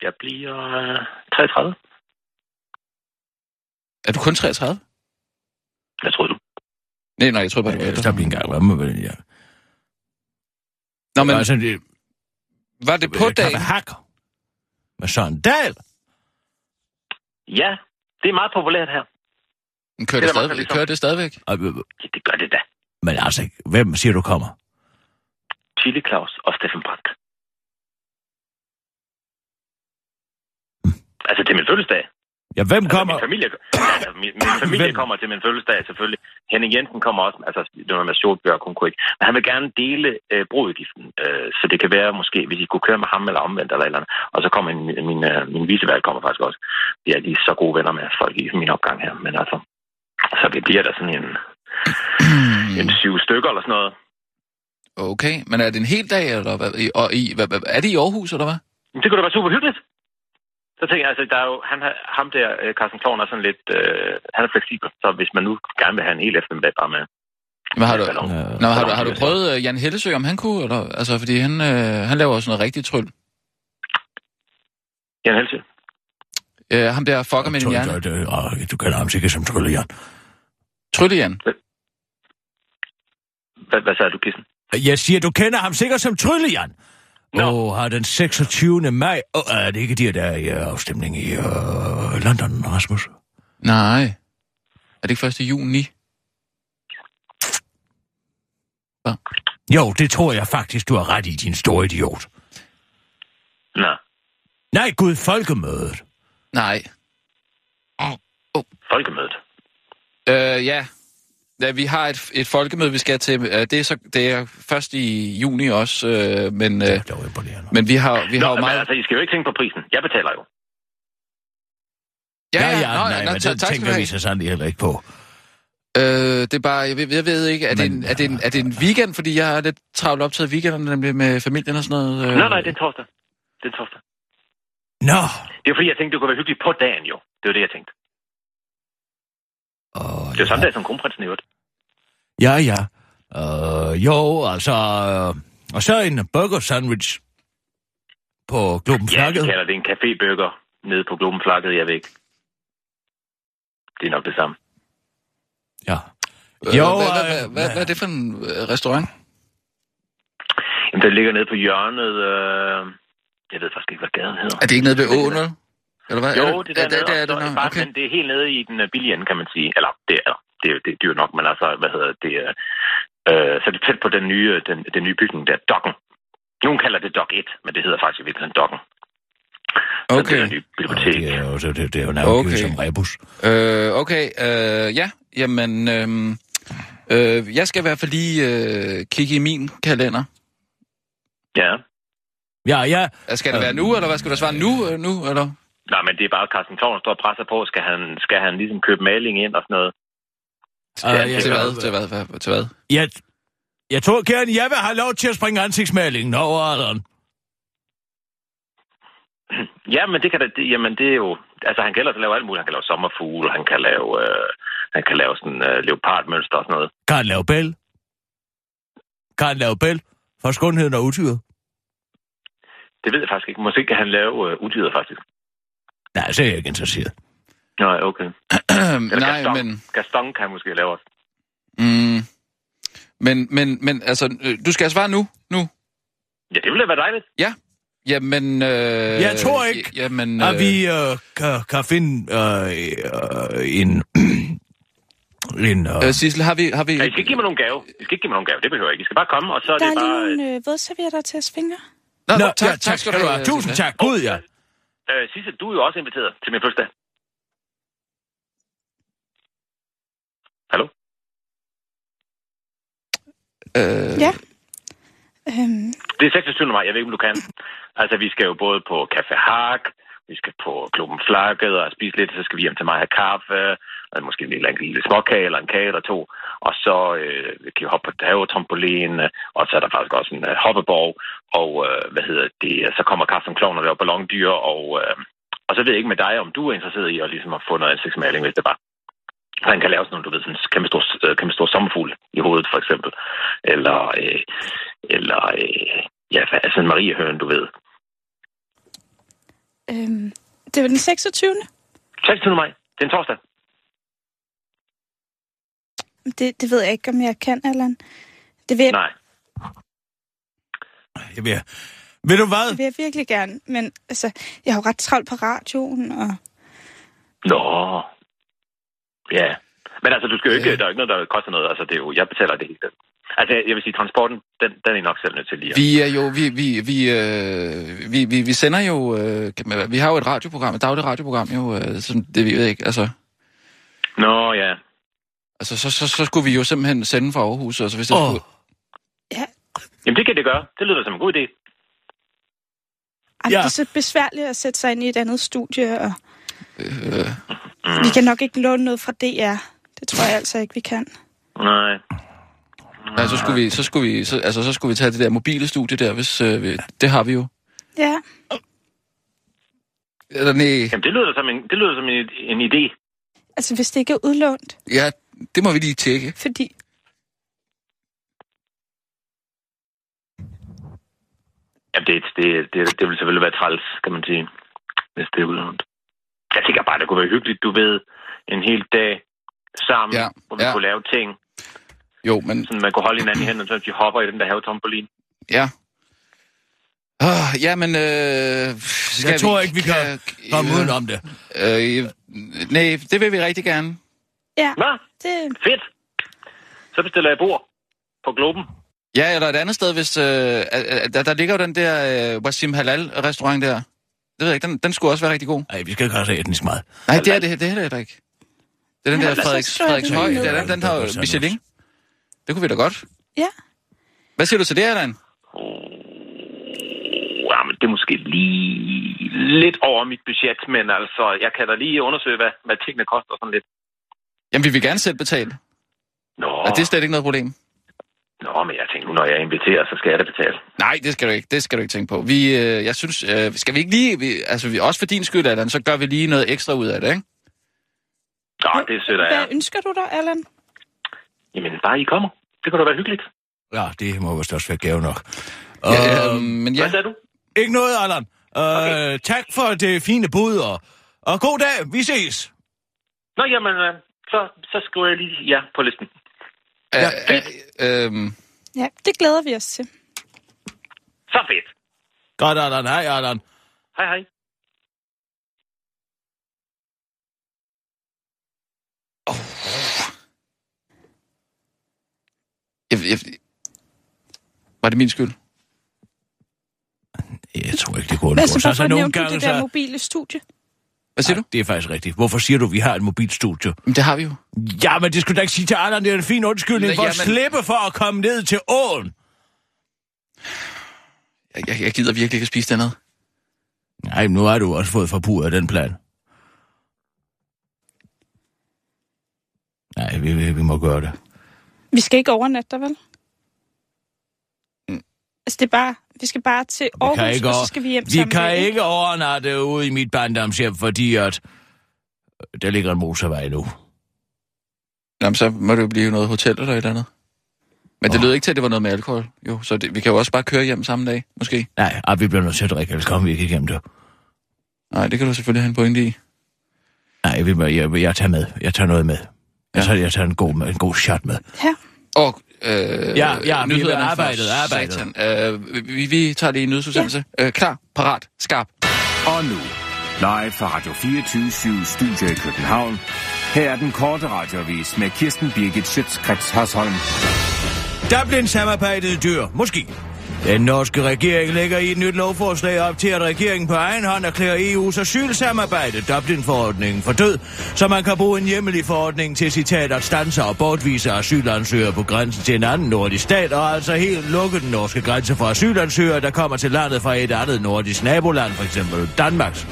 Speaker 8: jeg bliver øh, 33.
Speaker 4: Er du kun 33?
Speaker 8: Hvad tror du?
Speaker 4: Nej, nej, jeg tror bare, du var
Speaker 5: Øh,
Speaker 4: ældre.
Speaker 5: Stop lige en gang. Hvad må vi- ja.
Speaker 4: Nå, men
Speaker 5: Altså, det-
Speaker 4: var det på
Speaker 5: øh,
Speaker 4: dagen?
Speaker 5: Kaffe Hak Med Søren Dahl.
Speaker 8: Ja, det er meget populært her.
Speaker 4: Men Kører det,
Speaker 8: Det er der mange, der
Speaker 4: stadigvæk?
Speaker 8: ligesom-
Speaker 4: Kører det stadigvæk?
Speaker 5: Og, øh,
Speaker 8: Ja, det gør det da.
Speaker 5: Men altså, hvem siger du kommer?
Speaker 8: Chili Claus og Steffen Brandt. Altså til min fødselsdag.
Speaker 5: Ja, hvem kommer?
Speaker 8: Altså, min familie, altså, min, min familie
Speaker 5: Hvem?
Speaker 8: kommer til min fødselsdag, selvfølgelig. Henning Jensen kommer også, altså det var med Sjortbjørk, hun kunne ikke. Men han vil gerne dele øh, brudgiften, øh, så det kan være måske, hvis I kunne køre med ham eller omvendt eller et eller andet. Og så kommer min, min, øh, min visevalg kommer faktisk også. Vi er lige så gode venner med folk i min opgang her, men altså, så vi bliver der sådan en, en syv stykker eller sådan noget.
Speaker 4: Okay, men er det en hel dag, eller hvad? i- Og i, hvad, hvad, er det i Aarhus, eller hvad?
Speaker 8: Men det kunne da være super hyggeligt. Så tænker jeg, altså, der er jo, han, har- ham der, øh, Carsten Kloven, er sådan lidt, øh, han er fleksibel, så hvis man nu gerne vil have en hel eftermiddag bare med.
Speaker 4: Jamen, har du,
Speaker 8: ballon.
Speaker 4: nå, har, du, har du prøvet øh, Jan Hellesø, om han kunne? Eller, altså, fordi han, øh, han laver også noget rigtigt tryl.
Speaker 8: Jan Helse.
Speaker 4: Øh, ham der fucker med din
Speaker 5: Tryl-
Speaker 4: hjerne.
Speaker 5: tryl- tryl- Åh, Du kender ham sikkert som Tryllejern.
Speaker 4: Trylle,
Speaker 8: Hvad, hvad sagde du, Kissen?
Speaker 5: Jeg siger, du kender ham sikkert som Tryllejern.
Speaker 8: Nå.
Speaker 5: Og har den 26. maj... Og er det ikke de, der er i øh, afstemning i øh, London, Rasmus?
Speaker 4: Nej. Er det ikke 1. juni?
Speaker 5: Jo, det tror jeg faktisk, du har ret i, din store idiot.
Speaker 8: Nå,
Speaker 5: Nej, Gud, folkemødet.
Speaker 4: Nej.
Speaker 8: folkemødet.
Speaker 4: Øh, ja. ja. Vi har et, et folkemøde, vi skal til. Øh, det, er så, det er først i juni også, øh, men,
Speaker 5: Det
Speaker 4: øh,
Speaker 5: er dog imponerende.
Speaker 4: men vi har, vi
Speaker 8: Nå,
Speaker 4: har jo
Speaker 8: men
Speaker 4: meget...
Speaker 8: altså, I skal jo ikke tænke på prisen. Jeg betaler jo.
Speaker 5: Ja, ja, ja,
Speaker 4: nå,
Speaker 5: nej,
Speaker 4: nå,
Speaker 5: men
Speaker 4: tak-
Speaker 5: det
Speaker 4: tak skal du
Speaker 5: tænker vi
Speaker 4: have.
Speaker 5: så sandelig heller ikke på.
Speaker 4: Øh, det er bare, jeg ved, jeg ved ikke, er, det
Speaker 5: Men-
Speaker 4: en, er, det en, er det en weekend? Fordi jeg er lidt travlt optaget i weekenden, nemlig med familien og sådan noget. Øh.
Speaker 8: Nå, nej, det er en torsdag. Det er en torsdag.
Speaker 5: Nå,
Speaker 8: Det er fordi, jeg tænkte, det kunne være hyggeligt på dagen jo. Det var det, jeg tænkte.
Speaker 5: Åh,
Speaker 8: Det er jo samme dag som kronprinsen i øvrigt.
Speaker 5: ja, ja. Øh, jo, altså... Øh, og så en burger sandwich på Globen
Speaker 8: Ja, de
Speaker 5: Flakket.
Speaker 8: kalder det en cafébøger nede på Globen Flakket, jeg ved ikke. Det er nok det samme.
Speaker 5: Ja.
Speaker 4: Øh,
Speaker 5: Jo,
Speaker 4: hvad, hvad,
Speaker 5: øh,
Speaker 4: hvad, hvad, hvad er det for en øh, restaurant?
Speaker 8: Jamen, den ligger nede på hjørnet... Øh... Jeg ved faktisk ikke, hvad gaden hedder.
Speaker 4: Er det ikke nede ved åen, eller? Eller hvad?
Speaker 8: Jo, det der
Speaker 4: er, Øh, det- det er
Speaker 8: nede,
Speaker 4: det,
Speaker 8: og så-
Speaker 4: nå,
Speaker 8: bare,
Speaker 4: okay.
Speaker 8: men det er helt nede i den øh, billige ende, kan man sige. Eller, det er, det, er- det er dyrt nok, men altså, hvad hedder det? øh, Øh, så det er tæt på den nye, øh, den, den nye bygning, der er Dokken. Nogen kalder det Dok 1, men det hedder faktisk i virkeligheden Dokken. Så Det er
Speaker 4: Okay,
Speaker 8: den nye
Speaker 5: Nå,
Speaker 8: bibliotek.
Speaker 5: det er jo, det, det, det er jo navngivet
Speaker 4: Okay.
Speaker 5: okay. som rebus.
Speaker 4: øh, okay øh, ja, jamen, øh, øh, jeg skal i hvert fald lige øh, kigge i min kalender.
Speaker 8: Ja.
Speaker 5: Ja, ja.
Speaker 4: Øh, Skal det være nu, eller hvad skal du svare nu, øh, nu eller?
Speaker 8: Nej, men det er bare, at Carsten Kloven står og presser på. Skal han, skal han ligesom købe maling ind og sådan noget?
Speaker 5: Øh,
Speaker 8: Ja, det
Speaker 5: jeg,
Speaker 4: Ah, Til
Speaker 8: er
Speaker 4: hvad, til hvad, hvad, til hvad?
Speaker 5: jeg, jeg tror gerne, jeg vil have lov til at springe ansigtsmalingen over alderen.
Speaker 8: Ja, men det kan da, det, jamen det er jo, altså han kan ellers lave alt muligt. Han kan lave sommerfugle, han kan lave, øh, han kan lave sådan øh, leopardmønster og sådan noget.
Speaker 5: Kan han lave bæl? Kan han lave bæl? For skundheden og utyret.
Speaker 8: Det ved jeg faktisk ikke. Måske kan han lave øh, udyret faktisk.
Speaker 5: Nej, så er jeg ikke interesseret.
Speaker 8: Nej, okay. Eller
Speaker 4: Øh, Nej,
Speaker 8: Gaston.
Speaker 4: men...
Speaker 8: Gaston kan måske lave også.
Speaker 4: Mm, men, men, men, altså, øh, du skal svare nu, nu.
Speaker 8: Ja, det ville da være dejligt.
Speaker 4: Jamen, øh, Jeg
Speaker 5: tror ikke,
Speaker 4: Jamen,
Speaker 5: Øh... At vi øh, kan, kan finde øh, øh, en... en øh,
Speaker 4: Øh, Sissel, har vi... Har vi
Speaker 8: Ja, I skal ikke give mig nogen gave. I skal ikke give mig nogen gave. Det behøver jeg ikke. I skal bare komme, og så er
Speaker 6: Der
Speaker 8: det
Speaker 6: er
Speaker 8: bare...
Speaker 6: lige nogle øh, vådservietter til jeres fingre.
Speaker 4: Nå,
Speaker 5: Nå,
Speaker 4: tak, tak, tak skal du have.
Speaker 5: Tusind
Speaker 4: Sissel.
Speaker 5: tak. Gud, ja.
Speaker 8: Øh, Sisse, du er jo også inviteret til min fødselsdag. Hallo?
Speaker 4: Øh,
Speaker 6: Ja. Øhm,
Speaker 8: Det er 26. maj, jeg ved ikke, om du kan. Altså, vi skal jo både på Café Hak, vi skal på Klubben Flakket og spise lidt, så skal vi hjem til mig og have kaffe, og måske en lille, en lille småkage eller en kage eller to, og så øh, kan vi hoppe på havetrampolin, øh, og så er der faktisk også en øh, hoppeborg, og øh, hvad hedder det, så kommer Carsten Klovn og laver ballondyr, og, øh, og så ved jeg ikke med dig, om du er interesseret i at ligesom at få noget ansigtsmaling, hvis det var. Så han kan lave sådan nogle, du ved, sådan en kæmpe stor, øh, kæmpe stor sommerfugl i hovedet, for eksempel. Eller, øh, eller øh, Ja, hvad- altså en Mariehøn, du ved.
Speaker 6: øhm, det var den 26.
Speaker 8: 26. maj. Det er en torsdag.
Speaker 6: Det, det ved jeg ikke, om jeg kan, Allan. Det vil, jeg,
Speaker 8: Nej.
Speaker 5: Jeg vil, ved du hvad?
Speaker 6: det vil jeg virkelig gerne, men altså, jeg har jo ret travlt på radioen, og
Speaker 8: Nå. Ja. Men altså, du skal jo ikke...
Speaker 4: Ja.
Speaker 8: Ja. Der er jo ikke noget, der koster noget. Altså, det er jo... Jeg betaler det hele. Altså, jeg vil sige, transporten, den, den er I nok selv nødt til lige. at-
Speaker 4: Vi er jo, vi, vi, vi, øh, vi, vi, vi sender jo, øh, kan man- vi har jo et radioprogram, et dagligt radioprogram jo, øh, som det vi ved ikke, altså,
Speaker 8: Nå, ja.
Speaker 4: altså så, så, så skulle vi jo simpelthen sende fra Aarhus, altså hvis det
Speaker 5: Åh.
Speaker 4: skulle,
Speaker 8: Jamen, det kan det gøre. Det lyder som en god idé.
Speaker 6: ej,
Speaker 5: Ja.
Speaker 6: ja. det er så besværligt at sætte sig ind i et andet studie, og
Speaker 4: øh,
Speaker 6: vi kan nok ikke låne noget fra DR. Det tror jeg altså ikke, vi kan.
Speaker 8: Nej.
Speaker 4: Nej, så skulle vi, så skulle vi, så, altså, så skulle vi tage det der mobile studie der, hvis øh, vi, det har vi jo.
Speaker 6: Ja.
Speaker 4: Eller nej,
Speaker 8: Jamen, det lyder som en, det lyder som en, en idé.
Speaker 6: Altså, hvis det ikke er udlånt,
Speaker 4: ja, det må vi lige tjekke.
Speaker 6: fordi...
Speaker 8: Jamen, det, det, det, det ville selvfølgelig være træls, kan man sige, hvis det er udlånt. Jeg tænker bare, det kunne være hyggeligt, du ved, en hel dag sammen,
Speaker 4: Ja,
Speaker 8: ja, hvor vi
Speaker 4: ja.
Speaker 8: ja. kunne lave ting,
Speaker 4: Jo, men
Speaker 8: sådan man kunne holde hinanden i hænderne, så de hopper i den der havetrompolin.
Speaker 4: ja. Oh, ja, men... Øh, skal
Speaker 5: Jeg tror ikke, vi kan komme
Speaker 4: øh,
Speaker 5: udenom det.
Speaker 4: Øh, nej, det vil vi rigtig gerne.
Speaker 6: Ja,
Speaker 8: Nå,
Speaker 6: det...
Speaker 8: fedt! Så bestiller jeg bord på Globen.
Speaker 4: Ja, eller et andet sted, hvis... Øh, øh, der, der ligger jo den der øh, Wasim Halal-restaurant der. Det ved jeg ikke, den, den skulle også være rigtig god.
Speaker 5: Nej, vi skal ikke have så etnisk meget.
Speaker 4: Nej, det er det, det er det heller ikke. Det er den
Speaker 6: Ja,
Speaker 4: der
Speaker 6: så
Speaker 4: Frederiks,
Speaker 6: slår jeg
Speaker 4: Frederiks
Speaker 6: den
Speaker 4: Høj,
Speaker 6: ned.
Speaker 4: det er den, den har jo Michelin. Det kunne vi da godt.
Speaker 6: Ja.
Speaker 4: Hvad siger du til det, Allan?
Speaker 8: Ja, men det er måske lige lidt over mit budget, men altså, jeg kan da lige undersøge, hvad, hvad tingene koster sådan lidt.
Speaker 4: Jamen, vi vil gerne selv betale.
Speaker 8: Nå,
Speaker 4: Og det er slet ikke noget problem.
Speaker 8: Nå, men jeg tænkte nu, når jeg inviterer, så skal jeg da betale.
Speaker 4: Nej, det skal du ikke. Det skal du ikke tænke på. Vi, øh, jeg synes, øh, skal vi ikke lige... Vi, altså, vi, også for din skyld, Allan, så gør vi lige noget ekstra ud af det, ikke?
Speaker 8: Nå, det er sødt af jer.
Speaker 6: Hvad ønsker du dig, Allan?
Speaker 8: Jamen, bare I kommer. Det kunne da være hyggeligt.
Speaker 5: Ja, det må vist også være gave nok.
Speaker 4: Ja,
Speaker 5: Ja,
Speaker 4: øh, men
Speaker 8: Hvad
Speaker 4: ja,
Speaker 8: sagde du?
Speaker 5: Ikke noget, Allan. Øh, okay. Tak for det fine bud, og, og god dag. Vi ses.
Speaker 8: Nå, jamen, øh, så, så skriver jeg lige ja på listen.
Speaker 4: øh, øh, øh,
Speaker 6: Ja, det glæder vi os til.
Speaker 8: Så fedt.
Speaker 5: Godt, Allan. Hej, Allan.
Speaker 8: Hej, hej.
Speaker 4: jeg, jeg, var det min skyld?
Speaker 5: Jeg tror ikke, det går
Speaker 6: Altså, hvorfor nævnte du det der mobile studie?
Speaker 4: Hvad siger du?
Speaker 5: Det er faktisk rigtigt. Hvorfor siger du, at vi har et mobilstudio?
Speaker 4: Jamen, det har vi jo.
Speaker 5: Ja, men det skulle du da ikke sige til Allan. Det er en fin undskyldning
Speaker 4: Nå,
Speaker 5: for at
Speaker 4: jamen-
Speaker 5: slippe for at komme ned til åen.
Speaker 4: Jeg, jeg, jeg gider virkelig ikke at spise det andet.
Speaker 5: Nej, men nu har du også fået forpurret den plan. Nej, vi, vi, vi må gøre det.
Speaker 6: Vi skal ikke overnatte der, vel? Altså, det er bare... Vi skal bare til
Speaker 5: Mm. Vi
Speaker 6: Aarhus,
Speaker 5: kan ikke,
Speaker 6: og
Speaker 5: over...
Speaker 6: så skal vi hjem
Speaker 5: vi
Speaker 6: sammen.
Speaker 5: kan
Speaker 6: igen.
Speaker 5: ikke overnatte ude i mit barndomshjem, fordi at der ligger en motorvej nu.
Speaker 4: Jamen, så må det jo blive noget hotel eller et eller andet. Men det
Speaker 5: Åh.
Speaker 4: lød ikke til, at det var noget med alkohol. Jo, så det, vi kan jo også bare køre hjem samme dag, måske.
Speaker 5: Nej, ah, vi bliver nødt til at drikke, ellers kommer vi ikke igennem det.
Speaker 4: Nej, det kan du selvfølgelig have en pointe i.
Speaker 5: Nej, vi må, jeg, jeg tager med. Jeg tager noget med. Jeg
Speaker 4: Ja.
Speaker 5: tager, jeg tager en, god, en god shot med.
Speaker 6: Ja,
Speaker 4: Og øh,
Speaker 5: Ja, ja, vi
Speaker 4: nyhederne
Speaker 5: har
Speaker 4: fra
Speaker 5: arbejdet, arbejdet.
Speaker 4: Satan. Øh, vi, vi tager lige en nyhedsudsendelse. Ja. Øh, klar, parat, skarp.
Speaker 7: Og nu, live fra Radio 24 Studio i København. Her er den korte radiovis med Kirsten Birgit Schøtzgrads Hasholm.
Speaker 5: Dublin-samarbejdet dør, måske. Den norske regering lægger i et nyt lovforslag op til, at regeringen på egen hånd erklærer EU's asylsamarbejde, Dublin-forordningen, for død, så man kan bruge en hjemmel i forordningen til citat at stanse og bortvise asylansøgere på grænsen til en anden nordisk stat, og altså helt lukke den norske grænse for asylansøgere, der kommer til landet fra et andet nordisk naboland, f.eks. Danmarks.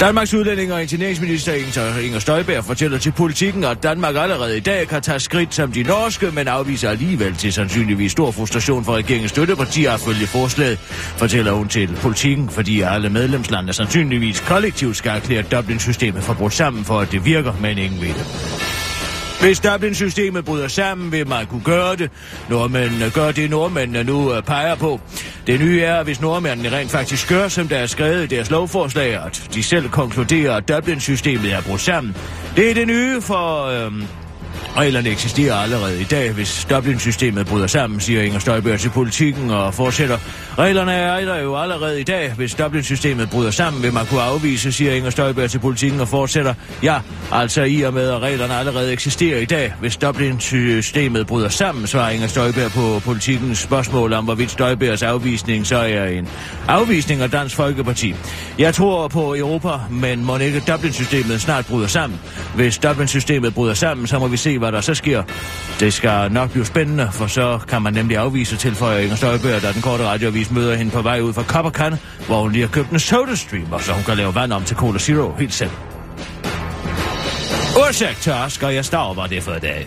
Speaker 5: Danmarks udlænding og ingeniørsminister Inger- Inger Støjberg fortæller til politikken, at Danmark allerede i dag kan tage skridt som de norske, men afviser alligevel til sandsynligvis stor frustration for regeringens støttepartier at følge forslaget, fortæller hun til politikken, fordi alle medlemslande sandsynligvis kollektivt skal erklære Dublin-systemet for brudt sammen for, at det virker, men ingen ved det. Hvis Dublin-systemet bryder sammen, vil man kunne gøre det. Nordmændene gør det, nordmændene nu øh, peger på. Det nye er, hvis nordmændene rent faktisk gør, som der er skrevet i deres lovforslag, at de selv konkluderer, at Dublin-systemet er brudt sammen. Det er det nye for... Øhm, Reglerne eksisterer allerede i dag, hvis Dublin-systemet bryder sammen, siger Inger Støjberg til politikken og fortsætter. Reglerne er der jo allerede i dag. Hvis Dublin-systemet bryder sammen, vil man kunne afvise, siger Inger Støjberg til politikken og fortsætter. Ja, altså i og med, at reglerne allerede eksisterer i dag. Hvis Dublin-systemet bryder sammen, svarer Inger Støjberg på politikens spørgsmål om, hvorvidt Støjbergs afvisning så er en afvisning af Dansk Folkeparti. Jeg tror på Europa, men må ikke Dublin-systemet snart bryder sammen. Hvis Dublin-systemet bryder sammen, så må vi se, hvad der så sker. Det skal nok blive spændende, for så kan man nemlig afvise tilføjer Inger Støjbøger, da den korte radioavis møder hende på vej ud fra Copperkan, hvor hun lige har købt en sodastream, og så hun kan lave vand om til Cola Zero helt selv. Ursäkta, skal jeg stå, var det for i dag.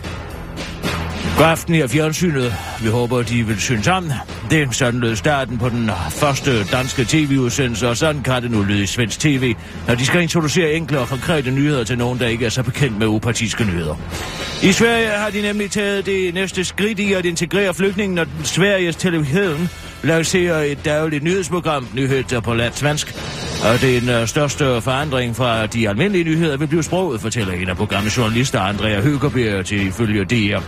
Speaker 5: God aften her fjernsynet. Vi håber, de vil synes sammen. Det er sådan lød starten på den første danske tv-udsendelse, og sådan kan det nu lyde i svensk tv, når de skal introducere enkle og konkrete nyheder til nogen, der ikke er så bekendt med upartiske nyheder. I Sverige har de nemlig taget det næste skridt i at integrere flygtningen, når den Sveriges television lancerer et dagligt nyhedsprogram, nyheder på landsvensk. Og den øh, største forandring fra de almindelige nyheder vil blive sproget, fortæller en af programmets journalister, Andrea Høgerberg, til ifølge DR.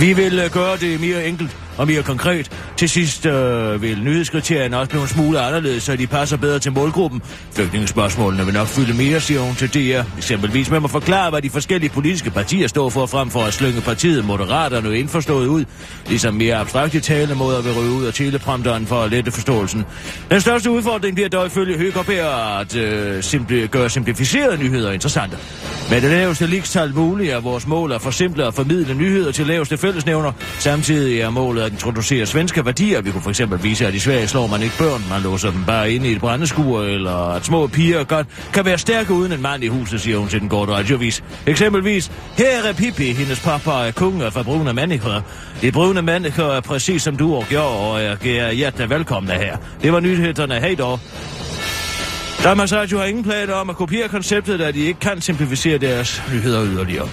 Speaker 5: Vi vil øh, gøre det mere enkelt og mere konkret. Til sidst øh, vil nyhedskriterierne også blive en smule anderledes, så de passer bedre til målgruppen. Flygtningespørgsmålene vil nok fylde mere, siger hun til DR. Eksempelvis med at forklare, hvad de forskellige politiske partier står for, frem for at slynge partiet Moderaterne indforstået ud. Ligesom mere abstrakte talemåder vil ryge ud af teleprompteren for at lette forståelsen. Den største udfordring bliver dog ifølge Høgerberg at øh, simpli- gøre simplificerede nyheder interessante. Med det laveste ligestal muligt er vores mål at forsimple og formidle nyheder til laveste fællesnævner. Samtidig er målet at introducere svenske værdier. Vi kunne for eksempel vise, at i Sverige slår man ikke børn, man låser dem bare inde i et brændeskur, eller at små piger godt kan være stærke uden en mand i huset, siger hun til den korte radiovis. Eksempelvis, her er Pippi, hendes pappa er konge fra brune mennesker. De brune mennesker er præcis som du og jeg, og jeg er hjertelig velkomne her. Det var nyhederne. Hej dog. Danmarks Radio har ingen planer om at kopiere konceptet, da de ikke kan simplificere deres nyheder yderligere.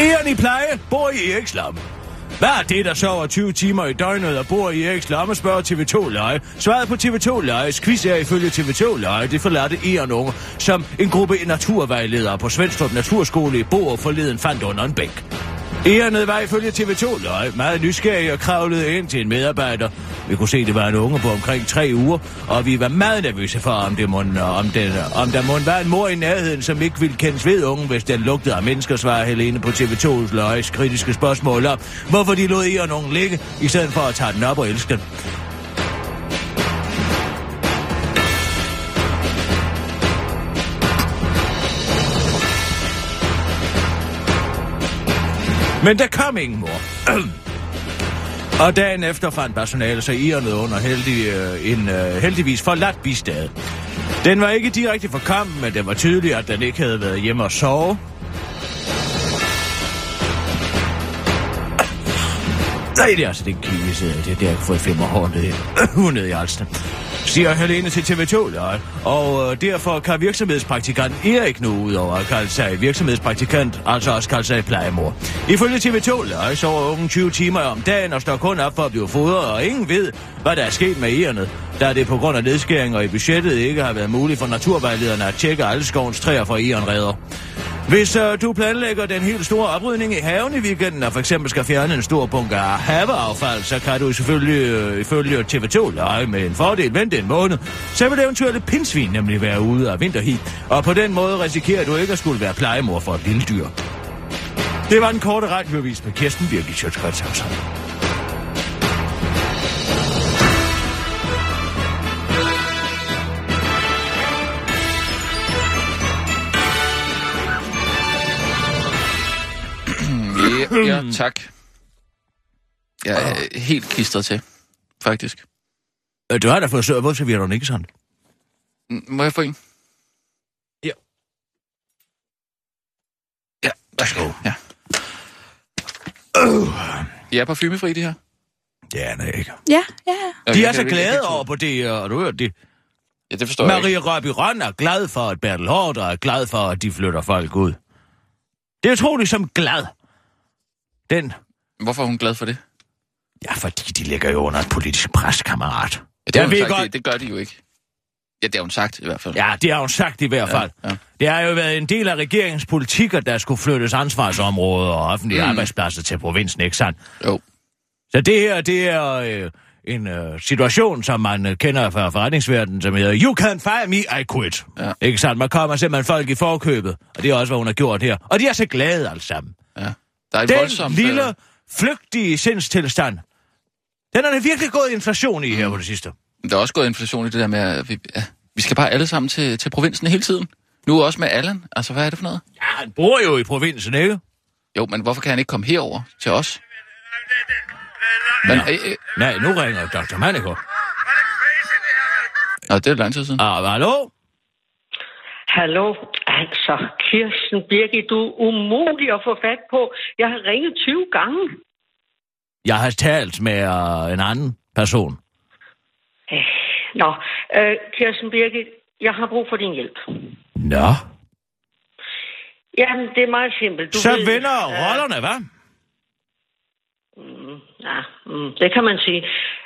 Speaker 5: Eren i pleje bor i Eriks lomme. Hvad er det, der sover 20 timer i døgnet og bor i Eriks lomme, spørger TV2 Leje. Svaret på TV2 Lejes quiz er ifølge TV2 Leje det forladte Eren unge, som en gruppe naturvejledere på Svendstrup Naturskole i Borup forleden fandt under en bænk. Egernet var ifølge TV2 løg, meget nysgerrig og kravlede ind til en medarbejder. Vi kunne se, det var en unge på omkring tre uger, og vi var meget nervøse for, om, det måtte, om, det, om der måtte være en mor i nærheden, som ikke ville kendes ved ungen, hvis den lugtede af mennesker, svarer Helene på TV2's løgs kritiske spørgsmål om, hvorfor de lod Egern ungen ligge, i stedet for at tage den op og elske den. Men der kom ingen mor. Og dagen efter fandt personalet sig irnet under heldig, øh, en øh, heldigvis forladt bistad. Den var ikke direkte forkommen, men det var tydeligt, at den ikke havde været hjemme og sove. Nej, det er altså den kiwi, sidder i. det er der, jeg har fået femmerhåndet Hun er i Alsten. Siger Helene til TV2, Løj. Og øh, derfor kan virksomhedspraktikanten Erik nu ud over at kalde sig virksomhedspraktikant, altså også kalde sig plejemor. Ifølge TV2, Løj, sover ungen 20 timer om dagen og står kun op for at blive fodret, og ingen ved, hvad der er sket med ærerne, da det på grund af nedskæringer i budgettet ikke har været muligt for naturvejlederne at tjekke alle skovens træer for ærenredder. Hvis øh, du planlægger den helt store oprydning i haven i weekenden, og for eksempel skal fjerne en stor bunke af haveaffald, så kan du selvfølgelig øh, ifølge TV2 lege med en fordel vente en måned. Så vil eventuelle pinsvin nemlig være ude af vinterhi, og på den måde risikerer du ikke at skulle være plejemor for et lille dyr. Det var en korte radiovis med Kirsten Birgit Sjøtskrets
Speaker 4: Ja, ja tak. Jeg er øh, helt klistret til, faktisk.
Speaker 5: Øh, Du har da fået søger, hvorfor serverer du den ikke sådan?
Speaker 4: N- Må jeg få en?
Speaker 5: Ja.
Speaker 4: Ja, værsgo. Ja.
Speaker 5: Øh.
Speaker 4: Jeg er parfumefri, det her.
Speaker 5: Det er det ikke.
Speaker 6: Ja,
Speaker 5: De
Speaker 6: ja.
Speaker 4: Jeg
Speaker 5: er så
Speaker 4: kan- jeg kan
Speaker 5: glade
Speaker 4: ikke- Øh.
Speaker 5: over på det, øh, og du hørte det.
Speaker 4: Ja, det forstår jeg
Speaker 5: Marie Røby Røn er glad for, at Bertel Hårder er glad for, at de flytter folk ud. Det er utroligt som glad. Den,
Speaker 4: ikke. Hvorfor er hun glad for det?
Speaker 5: ja, fordi de ligger jo under et politisk pres, kammerat.
Speaker 4: Ja, det, har
Speaker 5: Jeg
Speaker 4: hun
Speaker 5: ved
Speaker 4: sagt,
Speaker 5: godt-
Speaker 4: Det, det gør de jo ikke. Ja, det har hun sagt i hvert fald.
Speaker 5: Ja, det har hun sagt i hvert fald. Ja, ja. Det har jo været en del af regeringens politik, at der skulle flyttes ansvarsområder og offentlige
Speaker 4: Mm.
Speaker 5: mm. arbejdspladser til provinsen, ikke sandt?
Speaker 4: Jo.
Speaker 5: Så det her, det er øh, en øh, situation, som man øh, kender fra forretningsverdenen, som hedder, you can fire me, I quit.
Speaker 4: Ja.
Speaker 5: Ja. Ikke sandt? Man kommer simpelthen folk i forkøbet, og det er også, hvad hun har gjort her. Og de er så glade alle sammen.
Speaker 4: Der er et
Speaker 5: Den
Speaker 4: voldsomt... øh,
Speaker 5: lille, flygtige sindstilstand, den er der virkelig gået inflation i her
Speaker 4: Mm.
Speaker 5: på det sidste.
Speaker 4: Der er også gået inflation i det der med, at vi, ja, vi skal bare alle sammen til, til provinsen hele tiden. Nu også med Allan. Altså, hvad er det for noget?
Speaker 5: Ja, han bor jo i provinsen, ikke?
Speaker 4: Jo, men hvorfor kan han ikke komme herover til os? Men, øh, øh,
Speaker 5: Nej, nu ringer Dr. Manico.
Speaker 4: nå, det er lang tid siden.
Speaker 5: Ah, hallo?
Speaker 9: Hallo,
Speaker 8: Altså, Kirsten Birgit, du er umulig at få fat på. Jeg har ringet 20 gange.
Speaker 5: Jeg har talt med øh, en anden person.
Speaker 8: Øh, Nå, øh, Kirsten Birgit, jeg har brug for din hjælp.
Speaker 5: Nå.
Speaker 8: Jamen, det er meget simpelt. Du
Speaker 5: Så
Speaker 8: ved-
Speaker 5: vender
Speaker 8: Øh,
Speaker 5: rollerne, hvad?
Speaker 8: Ja, mm, det kan man sige.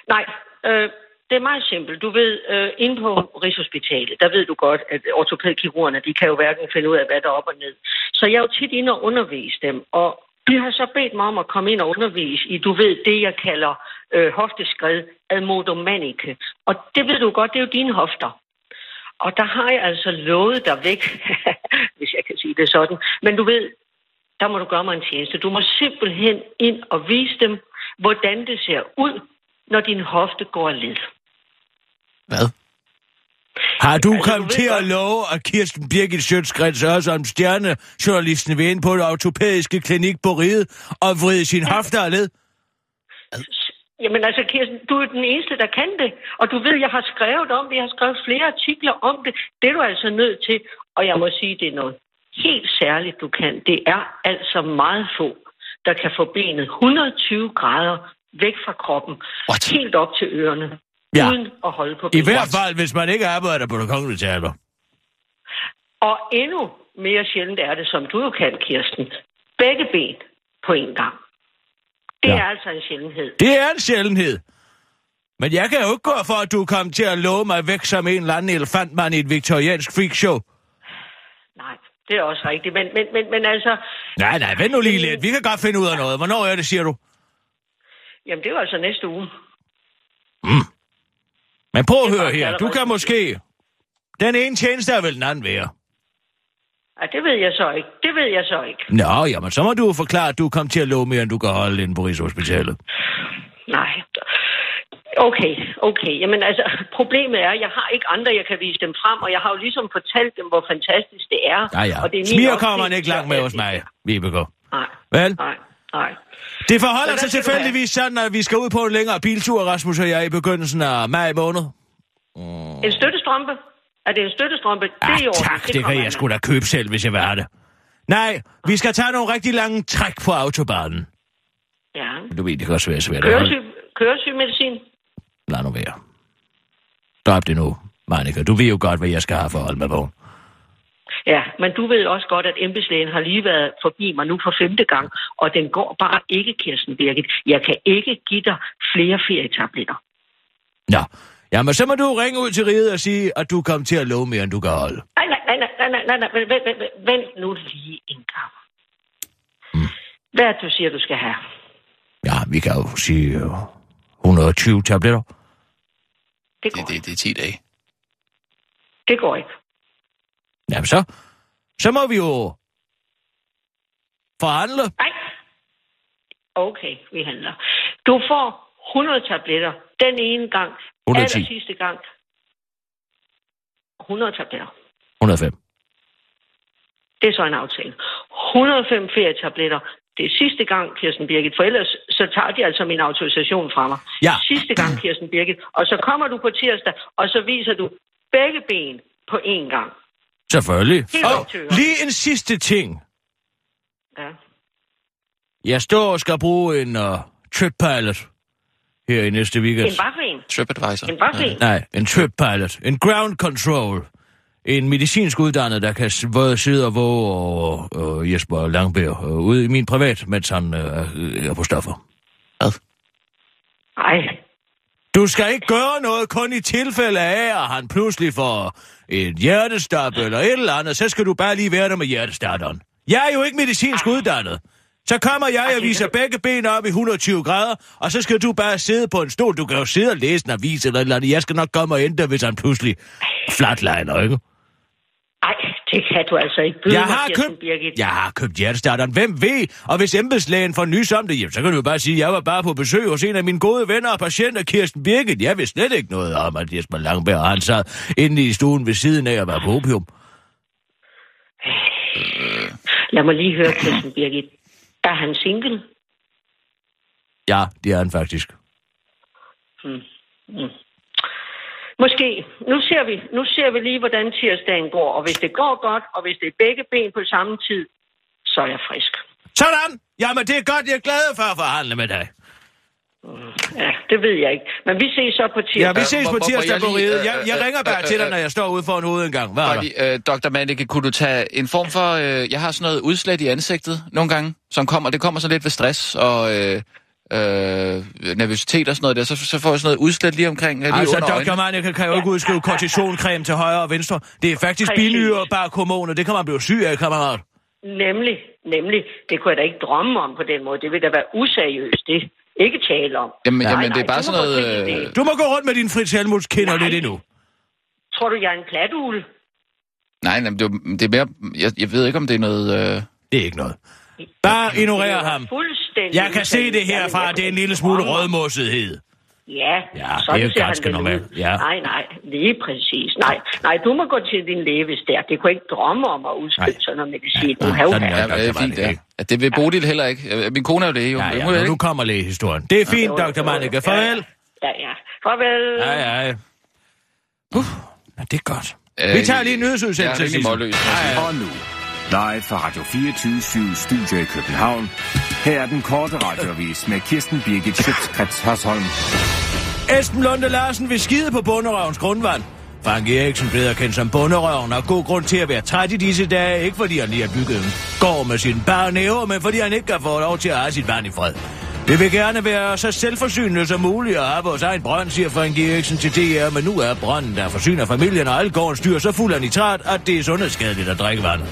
Speaker 8: Nej, øh, det er meget simpelt. Du ved, øh, inde på Rigshospitalet, der ved du godt, at ortopædkirurgerne, de kan jo hverken finde ud af, hvad der er op og ned. Så jeg er jo tit inde og undervise dem, og de har så bedt mig om at komme ind og undervise i, du ved, det jeg kalder øh, hofteskred ad modum manice. Og det ved du godt, det er jo dine hofter. Og der har jeg altså lovet dig væk, hvis jeg kan sige det sådan. Men du ved, der må du gøre mig en tjeneste. Du må simpelthen ind og vise dem, hvordan det ser ud, når din hofte går led.
Speaker 4: Hvad?
Speaker 5: Har du
Speaker 8: Altså, du
Speaker 5: kommet
Speaker 8: ved
Speaker 5: til at
Speaker 8: godt-
Speaker 5: love, at Kirsten Birgit Sjøtskrets også som stjernejournalisten vil ind på det autopædiske klinik på Ride og vride sin hofte af led?
Speaker 8: Jamen altså, Kirsten, du er den eneste, der kan det. Og du ved, jeg har skrevet om det. Jeg har skrevet flere artikler om det. Det er du altså nødt til. Og jeg må sige, det er noget helt særligt, du kan. Det er altså meget få, der kan få benet 120 grader væk fra kroppen.
Speaker 4: What?
Speaker 8: Helt op til ørerne.
Speaker 5: Ja.
Speaker 8: Uden at holde på
Speaker 5: I
Speaker 8: benet.
Speaker 5: hvert fald, hvis man ikke arbejder på det kongelige teater.
Speaker 8: Og endnu mere sjældent er det, som du jo kan, Kirsten. Begge ben på én gang. Det
Speaker 5: Ja.
Speaker 8: ja. er altså en sjældenhed.
Speaker 5: Det er en sjældenhed. Men jeg kan jo ikke gå for, at du kom til at love mig væk som en eller anden elefantmand i et viktoriansk freakshow.
Speaker 8: Nej, det er også rigtigt. Men, men, men, men altså,
Speaker 5: Nej, nej, vent nu lige lidt. Vi kan godt finde ud af noget. Hvornår er det, siger du?
Speaker 8: jamen det er jo altså næste uge.
Speaker 5: Men prøv at
Speaker 8: Det er
Speaker 5: høre
Speaker 8: faktisk
Speaker 5: her. Du
Speaker 8: allerede
Speaker 5: kan
Speaker 8: i
Speaker 5: måske... Den ene tjeneste er vel den anden værre.
Speaker 8: Ja, det ved jeg så ikke. Det ved jeg så ikke.
Speaker 5: Nå, jamen, så må du jo forklare, at du kom til at love mere, end du kan holde inde på Rigshospitalet.
Speaker 8: Nej. Okay, okay. Jamen altså, problemet er, at jeg har ikke andre, jeg kan vise dem frem, og jeg har jo ligesom fortalt dem, hvor fantastisk det er.
Speaker 5: Ja, ja.
Speaker 8: Og det er min
Speaker 5: Smiger kommer man
Speaker 8: opfattelse,
Speaker 5: ikke langt med
Speaker 8: at-
Speaker 5: hos mig, Vibeke.
Speaker 8: Nej,
Speaker 5: Vel?
Speaker 8: nej, nej.
Speaker 5: Det forholder
Speaker 8: Så
Speaker 5: sig
Speaker 8: der skal du have-
Speaker 5: tilfældigvis sådan, at vi skal ud på en længere biltur, Rasmus og jeg, i begyndelsen af maj måned.
Speaker 8: En støttestrømpe? Er det en støttestrømpe?
Speaker 5: Ja,
Speaker 8: det er i orden.
Speaker 5: Ah, tak, det
Speaker 8: kommer
Speaker 5: kan jeg sgu da købe selv, hvis jeg vil have det. Nej, vi skal tage nogle rigtig lange træk på autobanen.
Speaker 8: Ja.
Speaker 5: Du ved, det kan også være svært at holde.
Speaker 8: Køresyg, køresygmedicin?
Speaker 5: Lad nu være. Drop det nu, Monika. Du ved jo godt, hvad jeg skal have for at holde mig vågen.
Speaker 8: Ja, men du ved også godt, at embedslægen har lige været forbi mig nu for femte gang, og den går bare ikke, Kirsten Birgit. Jeg kan ikke give dig flere ferietabletter.
Speaker 5: Nå, jamen så må du ringe ud til riget og sige, at du kom til at love mere, end du kan holde.
Speaker 8: Nej, nej, nej, nej, nej, nej, nej, nej. Vent, vent, vent, vent nu lige en gang.
Speaker 4: Mm.
Speaker 8: Hvad er det, du siger, du skal have?
Speaker 5: Ja, vi kan jo sige øh, 120 tabletter.
Speaker 8: Det går
Speaker 4: Det,
Speaker 8: ikke.
Speaker 4: det, det er 10 dage.
Speaker 8: Det går ikke.
Speaker 5: Jamen så, så må vi jo forhandle.
Speaker 8: Nej. Okay, vi handler. Du får 100 tabletter den ene gang.
Speaker 5: 110.
Speaker 8: Aller sidste gang. 100 tabletter.
Speaker 5: 105.
Speaker 8: Det er så en aftale. 105 ferietabletter. Det er sidste gang, Kirsten Birgit, for ellers så tager de altså min autorisation fra mig.
Speaker 5: Ja.
Speaker 8: Sidste gang, Kirsten Birgit. Og så kommer du på tirsdag, og så viser du begge ben på én gang.
Speaker 5: Selvfølgelig.
Speaker 8: Helt
Speaker 5: Og
Speaker 8: op til ørerne.
Speaker 5: lige en sidste ting.
Speaker 8: Ja.
Speaker 5: Jeg står og skal bruge en uh, trip-pilot her i næste weekend.
Speaker 8: En vaffelen.
Speaker 4: TripAdvisor.
Speaker 8: En vaffelen.
Speaker 5: Nej, en trip-pilot. En ground control. En medicinsk uddannet, der kan s- både sidde og våge over øh, Jesper Langbær øh, ude i min privat, mens han øh, er på stoffer.
Speaker 8: Nej.
Speaker 5: Du skal ikke gøre noget kun i tilfælde af, at han pludselig får et hjertestop eller et eller andet. Så skal du bare lige være der med hjertestarteren. Jeg er jo ikke medicinsk uddannet. Så kommer jeg og viser begge ben op i 120 grader, og så skal du bare sidde på en stol. Du kan jo sidde og læse en avis eller et eller andet. Jeg skal nok komme og ændre, hvis han pludselig flatliner, ikke?
Speaker 8: Nej, det kan du altså ikke byde
Speaker 5: Jeg
Speaker 8: mig,
Speaker 5: har,
Speaker 8: Kirsten
Speaker 5: købt,
Speaker 8: Birgit.
Speaker 5: jeg har købt hjertestarteren. Hvem ved? Og hvis embedslægen får nys om det, jamen, så kan du jo bare sige, at jeg var bare på besøg hos en af mine gode venner og patienter, Kirsten Birgit. Jeg vidste slet ikke noget om, at Jesper Langberg han sad inde i stuen ved siden af og var på opium.
Speaker 8: Lad mig lige høre, Kirsten Birgit. Er han single?
Speaker 5: Ja, det er han faktisk.
Speaker 8: Mm. Mm.
Speaker 9: Måske. Nu ser, vi, nu ser vi lige, hvordan tirsdagen går. Og hvis det går godt, og hvis det er begge ben på samme tid, så er jeg frisk.
Speaker 5: Sådan! Jamen, det er godt, jeg er glad for at forhandle med dig.
Speaker 9: Ja, det ved jeg ikke. Men vi ses så på
Speaker 5: Ja,
Speaker 9: tirsdag.
Speaker 5: vi
Speaker 4: Øh, hvor-
Speaker 5: ses på
Speaker 4: hvor- hvor
Speaker 5: tirsdag
Speaker 4: jeg
Speaker 5: på
Speaker 4: lige,
Speaker 5: riget.
Speaker 4: øh,
Speaker 5: Jeg, jeg
Speaker 4: øh,
Speaker 5: ringer
Speaker 4: øh,
Speaker 5: bare til
Speaker 4: øh,
Speaker 5: dig, når jeg står ude foran hovedet en gang. Hvad er
Speaker 4: Bare
Speaker 5: der?
Speaker 4: lige, øh, Dr. Mannicke, kunne du tage en form for... Øh, jeg har sådan noget udslæt i ansigtet nogle gange, som kommer, det kommer så lidt ved stress og øh, øh, nervøsitet og sådan noget der. Så, så får jeg sådan noget udslæt lige omkring, øh, lige altså,
Speaker 5: Altså,
Speaker 4: under
Speaker 5: Dr.
Speaker 4: øjnene.
Speaker 5: Mannicke kan jo ikke udskrive kortisoncreme til højre og venstre. Det er faktisk
Speaker 9: Præcis.
Speaker 5: binyre og bare hormoner. Det kan man blive syg af, kammerat.
Speaker 9: Nemlig, nemlig. Det kunne jeg da ikke drømme om på den måde. Det ville da være useriøst. Det ikke tale om.
Speaker 4: Jamen,
Speaker 9: Nej,
Speaker 4: jamen, det er
Speaker 9: nej,
Speaker 4: bare
Speaker 9: du
Speaker 4: sådan
Speaker 9: må
Speaker 4: noget...
Speaker 9: godt se
Speaker 4: Øh,
Speaker 9: det.
Speaker 5: Du må gå rundt med din Fritz Helmuts kinder
Speaker 9: Nej.
Speaker 5: lidt endnu.
Speaker 4: øh,
Speaker 9: Tror du, jeg er en platugle?
Speaker 4: nej, nej, men det, er- det er mere... Jeg, jeg ved ikke, om det er noget... Øh,
Speaker 5: Det er ikke noget. Bare ignorer
Speaker 9: Det er
Speaker 5: ham.
Speaker 9: Fuldstændig.
Speaker 5: Jeg kan se det
Speaker 9: useriøst.
Speaker 5: herfra.
Speaker 9: Jamen,
Speaker 5: Det er en
Speaker 9: jeg-
Speaker 5: lille smule rødmossethed.
Speaker 9: Ja,
Speaker 5: Ja,
Speaker 9: sådan
Speaker 5: det er jo
Speaker 9: ser han
Speaker 5: ganske
Speaker 9: vel ud.
Speaker 5: normalt, ja.
Speaker 9: Nej, nej, lige præcis. Nej, nej, du må gå til din læge, hvis det er. Det kunne jeg ikke drømme om at udskrive
Speaker 5: Nej.
Speaker 9: sådan noget medicin. Du
Speaker 5: Nej,
Speaker 9: har jo
Speaker 5: sådan er
Speaker 9: haft-
Speaker 5: Dr.
Speaker 4: ja, øh, fint, ja.
Speaker 5: Mannicke.
Speaker 4: ja. Det vil Bodil heller ikke. Øh, Min kone er jo det, jo.
Speaker 5: Ja,
Speaker 4: Hun
Speaker 5: ja,
Speaker 4: er
Speaker 5: men
Speaker 4: ikke-
Speaker 5: nu kommer lægehistorien. Det er fint, Dr. Mannicke. Farvel.
Speaker 9: Ja, ja. Farvel.
Speaker 5: Hej, hej. Uh, ja, det er godt.
Speaker 4: Øh,
Speaker 5: Vi tager lige en
Speaker 4: Jeg er
Speaker 5: nyhedsudsendelse.
Speaker 4: rimelig
Speaker 5: Sissel.
Speaker 4: målløs.
Speaker 7: Og nu, live fra Radio 24 Studio i København. Her er den korte radiovis med Kirsten Birgit Schøtzgrads Hasholm.
Speaker 5: Esben Lunde Larsen vil skide på bunderøvens grundvand. Frank Eriksen, bedre kendt som bunderøven, har god grund til at være træt i disse dage. Ikke fordi han lige har bygget en gård med sine bare næver, men fordi han ikke kan få lov til at have sit vand i fred. Det vil gerne være så selvforsynende som muligt at have vores egen brønd, siger Frank Eriksen til DR, men nu er brønden, der forsyner familien og alle gårdens dyr, så fuld af nitrat, at det er sundhedsskadeligt at drikke vandet.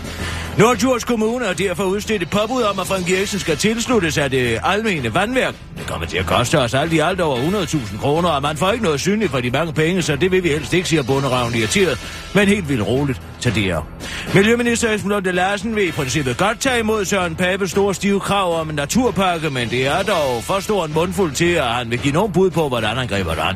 Speaker 5: Norddjurs Kommune har derfor udstedt et påbud om, at Frank Eriksen skal tilsluttes af det almene vandværk. Det kommer til at koste os alt i alt over 100.000 kroner, og man får ikke noget synligt for de mange penge, så det vil vi helst ikke, siger bunderavn irriteret, men helt vildt roligt til det her. Miljøminister Esben Lunde Larsen vil i princippet godt tage imod Søren Papes store stive krav om en naturpakke, men det er dog for stor en mundfuld til, at han vil give nogen bud på, hvordan han griber det an.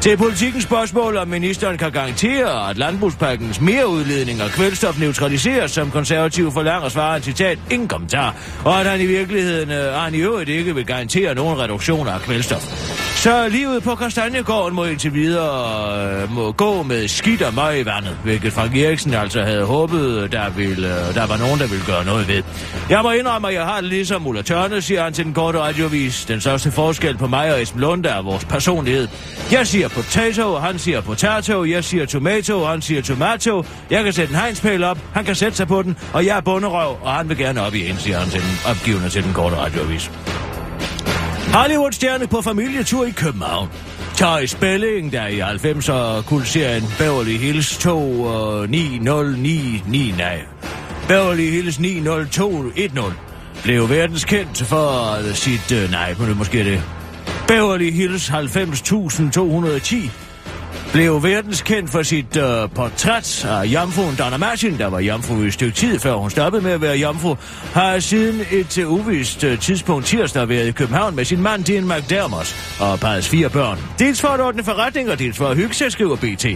Speaker 5: Til politikens spørgsmål, om ministeren kan garantere, at landbrugspakkens mere udledning og kvælstof neutraliseres, som konservative forlanger, svarer han citat, ingen kommentar, og at han i virkeligheden, øh, og han i øvrigt ikke vil garantere nogen reduktioner af kvælstof. Så livet på Kastanjegården må indtil videre øh, må gå med skidt og møg i vandet, hvilket Frank Eriksen altså havde håbet, der, ville, øh, der var nogen, der ville gøre noget ved. Jeg må indrømme, at jeg har det ligesom Ulla Tørne, siger han til den korte radiovis. Den største forskel på mig og Esben Lunde er vores personlighed. Jeg siger potato, han siger potato, jeg siger tomato, han siger tomato. Jeg kan sætte en hegnspæl op, han kan sætte sig på den, og jeg er bunderøv, og han vil gerne op i en, siger han til den opgivende til den korte radiovis. Hollywood-stjerne på familietur i København. Tøj Spelling, der i 90'er kulserien Beverly Hills øh, 2 og 9099, nej. Beverly Hills 90210 blev verdenskendt for sit, øh, nej, men det er måske det. Beverly Hills 90210 blev verdenskendt for sit øh, portræt af jomfruen Donna Martin, der var jomfru i et stykke tid, før hun stoppede med at være jomfru, har siden et øh, uvist øh, tidspunkt tirsdag været i København med sin mand Dean McDermott og parrets fire børn. Dels for at ordne forretning, og dels for at hygge sig, skriver BT.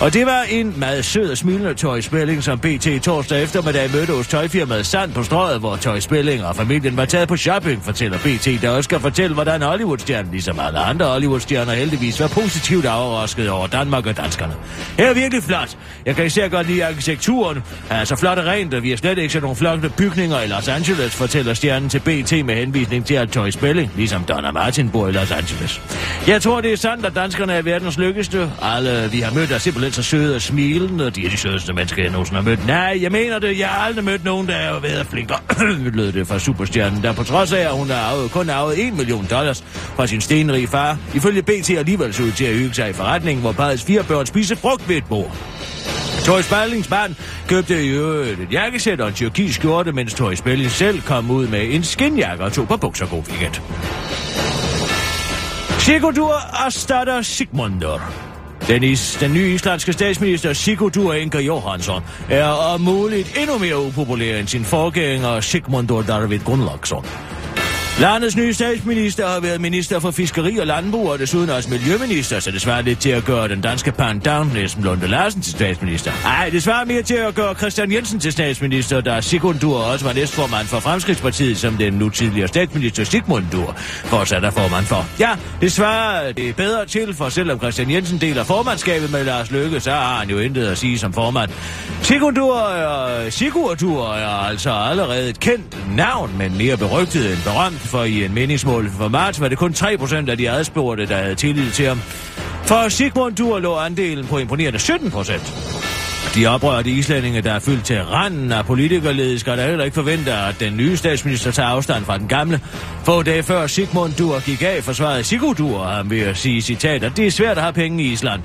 Speaker 5: Og det var en meget sød og smilende Tøj Spelling, som BT torsdag eftermiddag mødte hos tøjfirmaet Sand på strøget, hvor Tøj Spelling og familien var taget på shopping, fortæller BT, der også skal fortælle, hvordan Hollywood-stjernen, ligesom alle andre Hollywood-stjerner, heldigvis var positivt overrasket over Danmark og danskerne. Her er virkelig flot. Jeg kan især godt lide arkitekturen. Er så flot og rent, og vi har slet ikke set nogle flotte bygninger i Los Angeles, fortæller stjernen til BT med henvisning til, at Tøj Spelling, ligesom Donna Martin, bor i Los Angeles. Jeg tror, det er sandt, at danskerne er verdens lykkeligste. Alle, vi har mødt, er simpelthen så søde og smilende, og de er de sødeste mennesker, jeg nogensinde har mødt. Nej, jeg mener det. Jeg har aldrig mødt nogen, der er været flinkere. lød det fra superstjernen, der på trods af, at hun har arvet, kun arvet 1 million dollars fra sin stenrige far, ifølge BT alligevel så ud til at hygge sig i forretningen, hvor parrets fire børn spiser frugt ved et bord. Tori Spallings mand købte i øvrigt et jakkesæt og en tyrkisk skjorte, mens Tori Spelling selv kom ud med en skinjakke og to par bukser god weekend. Sigurdur Astadar Sigmundur. Den, is, den nye islandske statsminister Sigurdur Inger Johansson er om muligt endnu mere upopulær end sin forgænger Sigmundur David Gunnlaugsson. Landets nye statsminister har været minister for fiskeri og landbrug, og desuden også miljøminister, så det svarer lidt til at gøre den danske pandan Esben Lunde Larsen til statsminister. Nej, det svarer mere til at gøre Christian Jensen til statsminister, der Sigundur også var næstformand for Fremskridspartiet, som den nu tidligere statsminister Sigmundur fortsat er formand for. Ja, det svarer det bedre til, for selvom Christian Jensen deler formandskabet med Lars Løkke, så har han jo intet at sige som formand. Sigurdur er, Sigurdur er altså allerede et kendt navn, men mere berygtet end berømt, for i en meningsmål for marts var det kun 3% af de adspurgte, der havde tillid til ham. For Sigmundur lå andelen på imponerende 17%. De oprørte islændinge, der er fyldt til randen af politikerledet, skal da heller ikke forvente, at den nye statsminister tager afstand fra den gamle. Få dage før Sigmund Dur gik af, forsvarede Sigurdur ham ved at sige citat, at det er svært at have penge i Island.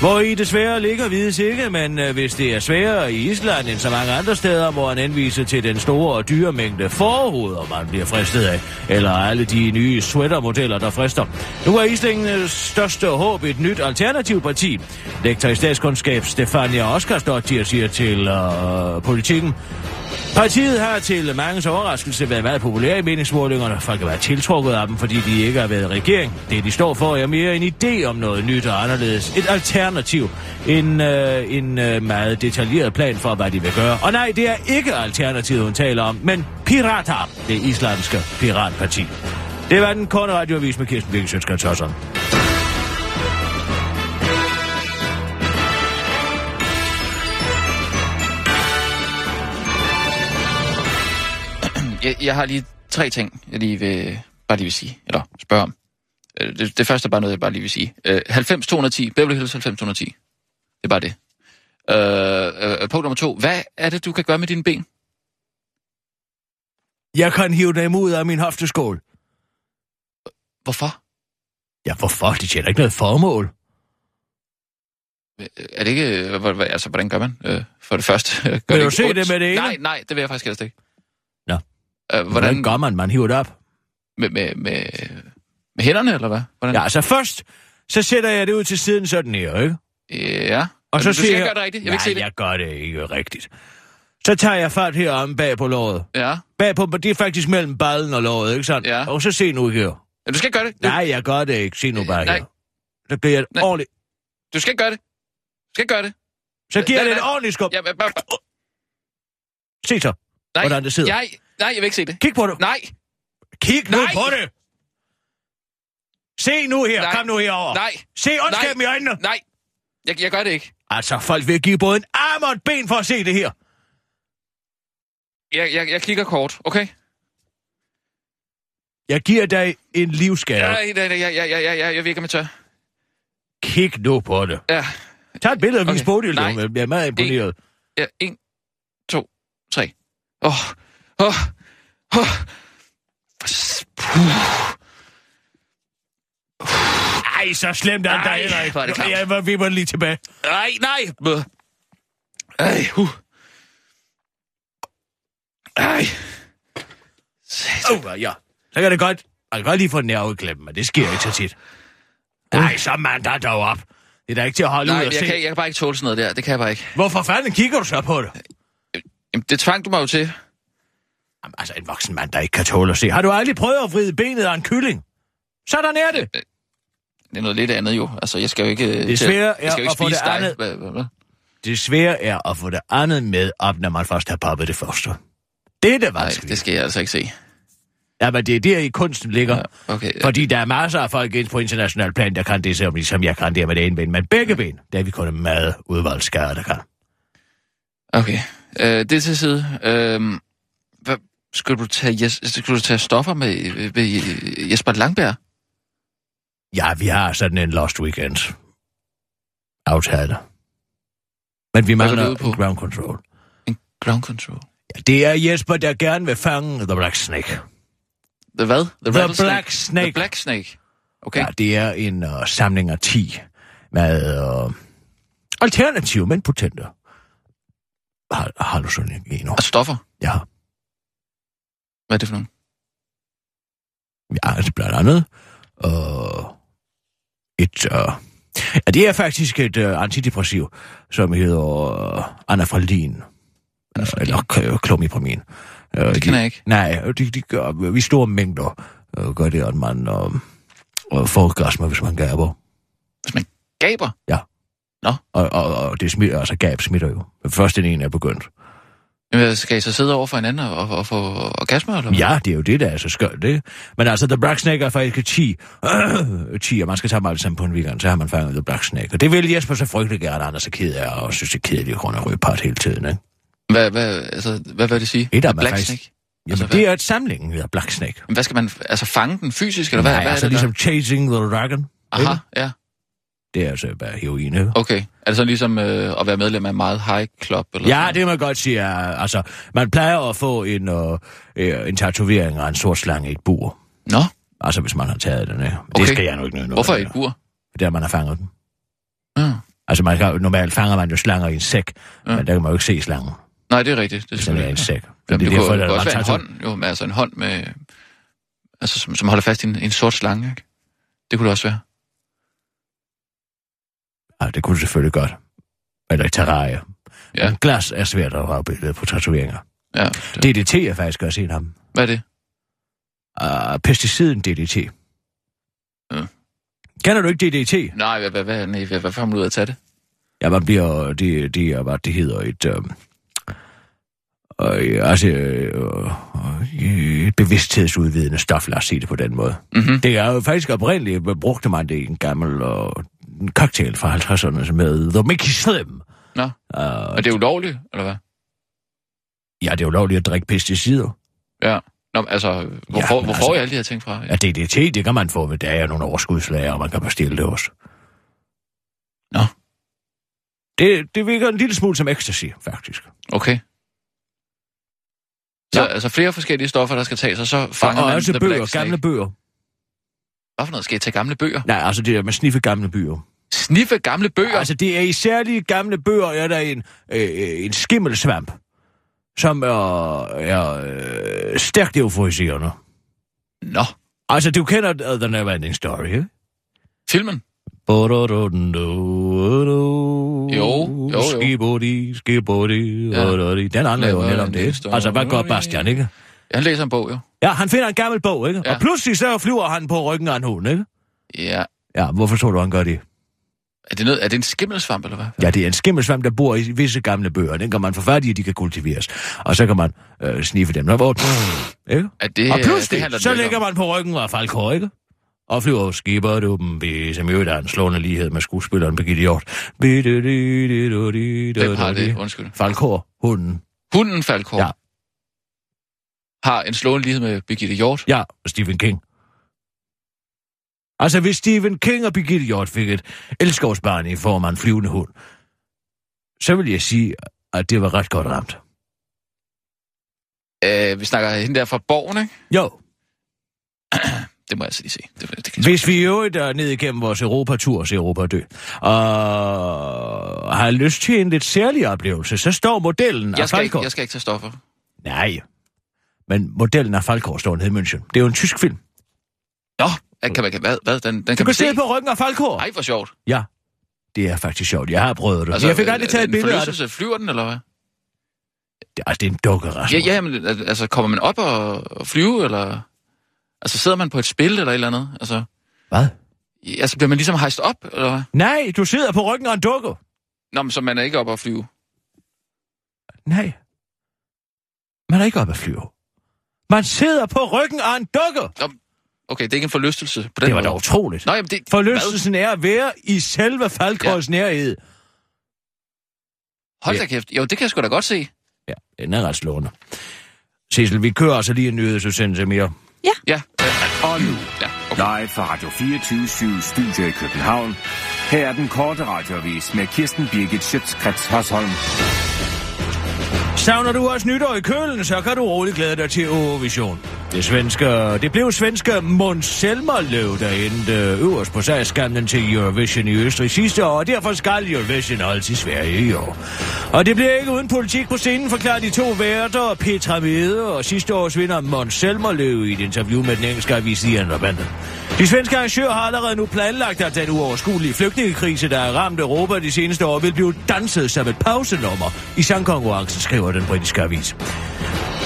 Speaker 5: Hvor i desværre ligger vides ikke, men øh, hvis det er sværere i Island end så mange andre steder, må han henvise til den store og dyre mængde forhoveder, man bliver fristet af. Eller alle de nye sweatermodeller, der frister. Nu er islændenes største håb et nyt alternativ parti. Lektor i statskundskab Stefania Oskarsdottir siger til øh, politikken, Partiet har til mangens overraskelse været meget populære i meningsmålingerne. Folk har været tiltrukket af dem, fordi de ikke har været i regering. Det, de står for, er mere en idé om noget nyt og anderledes. Et alternativ. En, øh, en øh, meget detaljeret plan for, hvad de vil gøre. Og nej, det er ikke alternativet, hun taler om, men Pirater, det islandske piratparti. Det var den korte radioavis med Kirsten Birkensønskrets Hørsson.
Speaker 4: Jeg, jeg har lige tre ting, jeg lige vil, bare lige vil sige, eller spørge om. Øh, Det, det første er bare noget, jeg bare lige vil sige. Øh, 90-210, Beverly Hills 90-210. Det er bare det. Øh, øh, punkt nummer to. Hvad er det, du kan gøre med dine ben?
Speaker 5: Jeg kan hive dem ud af min hofteskål.
Speaker 4: Hvorfor?
Speaker 5: Ja, hvorfor? Det tjener ikke noget formål.
Speaker 4: Øh, Er det ikke... øh, hvor- hvor- Altså, hvordan gør man? Øh, For det første... Gør
Speaker 5: Vil du
Speaker 4: ikke
Speaker 5: se
Speaker 4: ondt?
Speaker 5: det med det ene?
Speaker 4: Nej, nej, det vil jeg faktisk helst ikke.
Speaker 5: Nå.
Speaker 4: Øh,
Speaker 5: Hvordan
Speaker 4: hvordan...
Speaker 5: gør man? Man hiver det op.
Speaker 4: Med, med, med, med hænderne, eller hvad? Hvordan?
Speaker 5: Ja, altså først, så sætter jeg det ud til siden sådan her, ikke?
Speaker 4: ja.
Speaker 5: Og så
Speaker 4: du
Speaker 5: siger
Speaker 4: skal
Speaker 5: jeg...
Speaker 4: gøre det rigtigt. Jeg vil
Speaker 5: Nej,
Speaker 4: ikke se det.
Speaker 5: jeg gør det ikke rigtigt. Så tager jeg fat heromme bag på låret.
Speaker 4: Ja.
Speaker 5: Bag på, det er faktisk mellem ballen og låret, ikke sandt?
Speaker 4: Ja.
Speaker 5: Og så se nu her.
Speaker 4: Men Du skal ikke gøre det. Du,
Speaker 5: Nej, jeg gør det ikke. Se nu bare
Speaker 4: Nej.
Speaker 5: her. Så giver jeg et
Speaker 4: Nej.
Speaker 5: ordentligt...
Speaker 4: du skal ikke gøre det. Du skal ikke gøre det.
Speaker 5: Så giver jeg
Speaker 4: Nej,
Speaker 5: det et
Speaker 4: nej.
Speaker 5: ordentligt skub.
Speaker 4: Ja, bare, bare,
Speaker 5: Se så,
Speaker 4: nej.
Speaker 5: hvordan det sidder.
Speaker 4: Jeg, nej, jeg vil ikke se det.
Speaker 5: Kig på det.
Speaker 4: Nej,
Speaker 5: Kig nu
Speaker 4: Nej.
Speaker 5: på det. Se nu her.
Speaker 4: Nej.
Speaker 5: Kom nu herover.
Speaker 4: Nej.
Speaker 5: Se ondskaben i øjnene.
Speaker 4: nej. Jeg, jeg gør det ikke.
Speaker 5: Altså, folk vil give både en arm og et ben for at se det her.
Speaker 4: Jeg, jeg, jeg kigger kort, okay?
Speaker 5: Jeg giver dig en livsgave.
Speaker 4: Ja. Nej, nej, nej, jeg, jeg, jeg, jeg, jeg, jeg virker med tør.
Speaker 5: Kig nu på det.
Speaker 4: Ja,
Speaker 5: Tag et billede af
Speaker 4: Okay.
Speaker 5: min Bodil,
Speaker 4: Nej.
Speaker 5: jeg bliver meget imponeret.
Speaker 4: ja, en, to, tre. Åh, oh, åh, oh, åh. Oh.
Speaker 5: Ej, så slemt er det da
Speaker 4: Ej,
Speaker 5: heller ikke.
Speaker 4: hvor er det klamt.
Speaker 5: Ja, hvor- vi var lige tilbage.
Speaker 4: Nej, nej. Bøh. Ej, huh. Ej. Satan.
Speaker 5: Oh, ja. Så kan det godt. Man kan godt lige få nerveklemmen, men det sker ikke så tit. Nej, så mand der dog op. Det er da ikke til at holde
Speaker 4: Nej,
Speaker 5: ud og
Speaker 4: men jeg
Speaker 5: se.
Speaker 4: kan, jeg kan bare ikke tåle sådan noget der. Det kan jeg bare ikke.
Speaker 5: Hvorfor fanden kigger du så på det?
Speaker 4: Jamen, det tvang du mig jo til.
Speaker 5: Jamen, altså, en voksen mand, der ikke kan tåle at se. Har du aldrig prøvet at vride benet af en kylling? Sådan er det.
Speaker 4: Øh, Det er noget lidt andet jo. Altså, jeg skal jo ikke... Det
Speaker 5: svære
Speaker 4: jeg skal jo
Speaker 5: er
Speaker 4: ikke
Speaker 5: at få
Speaker 4: spise
Speaker 5: det
Speaker 4: dig.
Speaker 5: andet.
Speaker 4: Hvad, hvad, hvad?
Speaker 5: Det svære er at få det andet med op, når man først har poppet det første. Det er det
Speaker 4: Nej,
Speaker 5: vanskelige.
Speaker 4: det skal jeg altså ikke se.
Speaker 5: Ja, men det er der i kunsten ligger.
Speaker 4: Ja, okay.
Speaker 5: Fordi der er masser af folk ind på international plan, der kan det, som, som jeg kan det med det ene ben. Men begge ben, der er vi kun en meget udvalgt skade, der kan.
Speaker 4: Okay. Øh, det er til side. Øh, hvad, skulle, du tage, Jes- skulle du tage stoffer med, med Jesper Langberg?
Speaker 5: Ja, vi har sådan en lost weekend. Aftale. Men vi
Speaker 4: Hvad går det
Speaker 5: mangler
Speaker 4: ud på?
Speaker 5: ground control.
Speaker 4: Ground control.
Speaker 5: Ja, det er Jesper, der gerne vil fange The Black Snake.
Speaker 4: The hvad?
Speaker 5: The
Speaker 4: rattlesnake?
Speaker 5: Black Snake.
Speaker 4: The Black Snake. Okay.
Speaker 5: Ja, det er en uh, samling af 10 med uh, alternative, men potente. Har, har du sådan en?
Speaker 4: Og stoffer.
Speaker 5: Ja.
Speaker 4: Hvad er det for nogen?
Speaker 5: Ja, altså blandt andet. Og et... Øh, ja, det er faktisk et øh, antidepressiv, som hedder øh, anafralin. Eller øh, klomipramin. Øh,
Speaker 4: Det kender jeg ikke.
Speaker 5: Nej, de, de gør øh, i store mængder øh, gør det, at man øh, øh, får orgasme, hvis man gaber.
Speaker 4: Hvis man gaber?
Speaker 5: Og, og, og det smitter, altså gab smitter jo. Først den ene er begyndt.
Speaker 4: Jamen, skal I så sidde over for hinanden og, og, og få orgasme? Eller? hvad?
Speaker 5: Ja, det er jo det, der er så skønt, det. Men altså, The Black Snake er faktisk 10. 10, og man skal tage dem alle sammen på en weekend, så har man fanget The Black Snake. Og det vil Jesper så frygtelig gerne, han er så ked af, og synes, det er kedeligt, at hun er rødpart hele tiden, ikke?
Speaker 4: Hvad, hvad, altså, hvad vil det sige?
Speaker 5: Et af dem er
Speaker 4: Black
Speaker 5: faktisk-
Speaker 4: Snake?
Speaker 5: Jamen,
Speaker 4: Altså,
Speaker 5: altså, det er et samling, hedder Black Snake.
Speaker 4: Men Hvad skal man, altså fange den fysisk, eller hvad,
Speaker 5: Nej,
Speaker 4: hvad
Speaker 5: altså
Speaker 4: er det
Speaker 5: ligesom Chasing the Dragon.
Speaker 4: der? Aha, ja,
Speaker 5: Det er altså bare heroin, ikke?
Speaker 4: okay. Er det sådan ligesom øh, at være medlem af meget high club? Eller
Speaker 5: Ja,
Speaker 4: sådan?
Speaker 5: det må man godt sige. er- Altså, man plejer at få en, øh, øh, en tatovering af en sort slange i et bur.
Speaker 4: Nå,
Speaker 5: Altså, hvis man har taget den, ikke?
Speaker 4: Okay.
Speaker 5: Det skal jeg nu ikke noget.
Speaker 4: hvorfor i et bur?
Speaker 5: Der man har fanget den.
Speaker 4: Ja.
Speaker 5: Altså, man kan, jo- normalt fanger man jo slanger i en sæk,
Speaker 4: Ja.
Speaker 5: ja. men der kan man jo ikke se slangen,
Speaker 4: Nej, det er rigtigt. Det er
Speaker 5: hvis den er i
Speaker 4: selvfølgelig
Speaker 5: en sæk.
Speaker 4: Jamen, det, det
Speaker 5: derfor,
Speaker 4: kunne, det
Speaker 5: der
Speaker 4: kunne
Speaker 5: er
Speaker 4: også være en
Speaker 5: mange
Speaker 4: hånd, jo, men altså en hånd med, altså, som, som holder fast i en, en sort slange, ikke? Det kunne det også være.
Speaker 5: tato- Ja, Ah, det kunne det selvfølgelig godt. Eller et terrarie.
Speaker 4: Ja.
Speaker 5: Ja. Men glas er svært at afbilde på tatoveringer.
Speaker 4: Ja, det, det.
Speaker 5: DDT er faktisk også en af dem.
Speaker 4: Hvad er det?
Speaker 5: Uh, pesticiden DDT.
Speaker 4: Ja.
Speaker 5: Kender du ikke DDT?
Speaker 4: Nej, hvad, hvad, hvad, nej, hvad, hvad får man ud af at tage det?
Speaker 5: Ja, man bliver, det, det er, hvad det hedder, et, øh, øh, altså, øh, øh, et bevidsthedsudvidende stof, lad os sige det på den måde.
Speaker 4: Mhm.
Speaker 5: Det er jo faktisk oprindeligt, man brugte man det i en gammel øh, en cocktail fra 50'erne med The Mickey Slim.
Speaker 4: Nå.
Speaker 5: Uh,
Speaker 4: Og det er ulovligt, eller hvad?
Speaker 5: ja, det er jo lovligt at drikke pesticider.
Speaker 4: Ja. Nå, men altså, hvor,
Speaker 5: Ja,
Speaker 4: ja, hvor,
Speaker 5: men
Speaker 4: hvor
Speaker 5: altså-
Speaker 4: får jeg alle de her ting fra?
Speaker 5: Ja, DDT, det kan man få ved dage og nogle overskudslager, og man kan bestille det også.
Speaker 4: Nå.
Speaker 5: Det, det virker en lille smule som ecstasy, faktisk.
Speaker 4: Okay. Så
Speaker 5: Ja.
Speaker 4: altså flere forskellige stoffer, der skal tages, og så fanger
Speaker 5: Og, og
Speaker 4: man
Speaker 5: også
Speaker 4: The
Speaker 5: bøger,
Speaker 4: Black Snake.
Speaker 5: gamle bøger.
Speaker 4: Hvad for noget? Skal jeg tage gamle bøger?
Speaker 5: Nej, altså det der med sniffe gamle bøger.
Speaker 4: Sniffe gamle bøger?
Speaker 5: Altså, det er i særlige gamle bøger, er der en, øh, en skimmelsvamp, som er, er øh, stærkt euforiserende.
Speaker 4: Nå,
Speaker 5: Altså, du kender uh, The Neverending Story, ikke?
Speaker 4: filmen? jo, jo.
Speaker 5: Skibodi, skibodi,
Speaker 4: Ja.
Speaker 5: ja. Den handler jo netop om
Speaker 4: Neverending
Speaker 5: det.
Speaker 4: Story.
Speaker 5: Altså, hvad gør Bastian, ikke?
Speaker 4: Han læser en bog, jo.
Speaker 5: Ja, han finder en gammel bog, ikke?
Speaker 4: Ja.
Speaker 5: Ja. Og pludselig så flyver han på ryggen af en hund, ikke?
Speaker 4: Ja.
Speaker 5: Ja, hvorfor tror du, han gør det?
Speaker 4: Er det, noget, er det en skimmelsvamp, eller hvad?
Speaker 5: Ja, det er en skimmelsvamp, der bor i visse gamle bøger. Den kan man få fat i, de kan kultiveres. Og så kan man øh, sniffe dem. Nå, hvor... Ikke?
Speaker 4: Er det,
Speaker 5: og
Speaker 4: det
Speaker 5: pludselig,
Speaker 4: handler
Speaker 5: det
Speaker 4: den ikke
Speaker 5: så ligger
Speaker 4: om.
Speaker 5: man på ryggen af Falkor, ikke? Og flyver skibber du dem, vi som jo der er en slående lighed med skuespilleren Birgitte Hjort.
Speaker 4: Hvem har det? Undskyld.
Speaker 5: Falkor, hunden.
Speaker 4: Hunden Falkor ja.
Speaker 5: Ja.
Speaker 4: har en slående lighed med Birgitte Hjort.
Speaker 5: Ja, og Stephen King. Altså, hvis Stephen King og Birgitte Hjort fik et elskovsbarn i form af en flyvende hund, så vil jeg sige, at det var ret godt ramt.
Speaker 4: Øh, vi snakker hende der fra Borgen, ikke?
Speaker 5: Jo,
Speaker 4: Det må jeg altså lige se. Det, det kan jeg
Speaker 5: Hvis vi i øvrigt er ned igennem vores Europatur, så Europa er dø, og har lyst til en lidt særlig oplevelse, så står modellen
Speaker 4: jeg
Speaker 5: af
Speaker 4: skal, ikke,
Speaker 5: Falkor...
Speaker 4: jeg skal ikke tage stoffer.
Speaker 5: Nej, men modellen af Falkor står nede i München. Det er jo en tysk film.
Speaker 4: Nå, at kan man, kan- hvad, hvad, den, den
Speaker 5: Du
Speaker 4: kan man
Speaker 5: kan
Speaker 4: se.
Speaker 5: sidde på ryggen af Falkor.
Speaker 4: Ej, hvor sjovt.
Speaker 5: Ja, det er faktisk sjovt. Jeg har prøvet det. Altså, jeg fik aldrig
Speaker 4: øh,
Speaker 5: taget
Speaker 4: en
Speaker 5: et billede af det.
Speaker 4: forlystelse, Flyver den, eller hvad?
Speaker 5: Det- Altså, det er en dukke, Rasmus.
Speaker 4: Ja, ja, men al- altså, kommer man op og, og flyve, eller... Altså, sidder man på et spil, eller et eller andet? Altså,
Speaker 5: Hvad?
Speaker 4: ja, altså bliver man ligesom hejst op, eller hvad?
Speaker 5: Nej, du sidder på ryggen af en dukke.
Speaker 4: Nå, men så man er ikke op og flyve.
Speaker 5: Nej. Man er ikke oppe at flyve. Man sidder på ryggen af en dukke.
Speaker 4: Okay, det er ikke en forlystelse på den
Speaker 5: Det var
Speaker 4: måde.
Speaker 5: da utroligt.
Speaker 4: Nå, jamen, det...
Speaker 5: Forlystelsen er at være i selve Falkors ja. nærhed.
Speaker 4: Hvad? Hold da kæft. Jo, det kan jeg sgu da godt se.
Speaker 5: Ja, den er ret slående. Sissel, vi kører altså lige en nyhedsudsendelse mere.
Speaker 4: Ja,
Speaker 7: Og nu,
Speaker 4: ja. Okay.
Speaker 7: live fra Radio 24 Studio i København. Her er den korte radiovis med Kirsten Birgit Schøtzgrads Hasholm.
Speaker 5: Savner du også nytår i kølen, så kan du roligt glæde dig til Eurovision. Det, svenske, det blev svenske Måns Selmerløv, der endte øh, øverst på sejrskamlen til Eurovision i Østrig sidste år, og derfor skal Eurovision holdes i Sverige i år. Og det bliver ikke uden politik på scenen, forklarer de to værter, Petra Mede og sidste års vinder Måns Selmerløv i et interview med den engelske avis The Independent. De svenske arrangører har allerede nu planlagt, at den uoverskuelige flygtningekrise, der har ramt Europa de seneste år, vil blive danset som et pausenummer i sangkonkurrencen, skriver den britiske avis.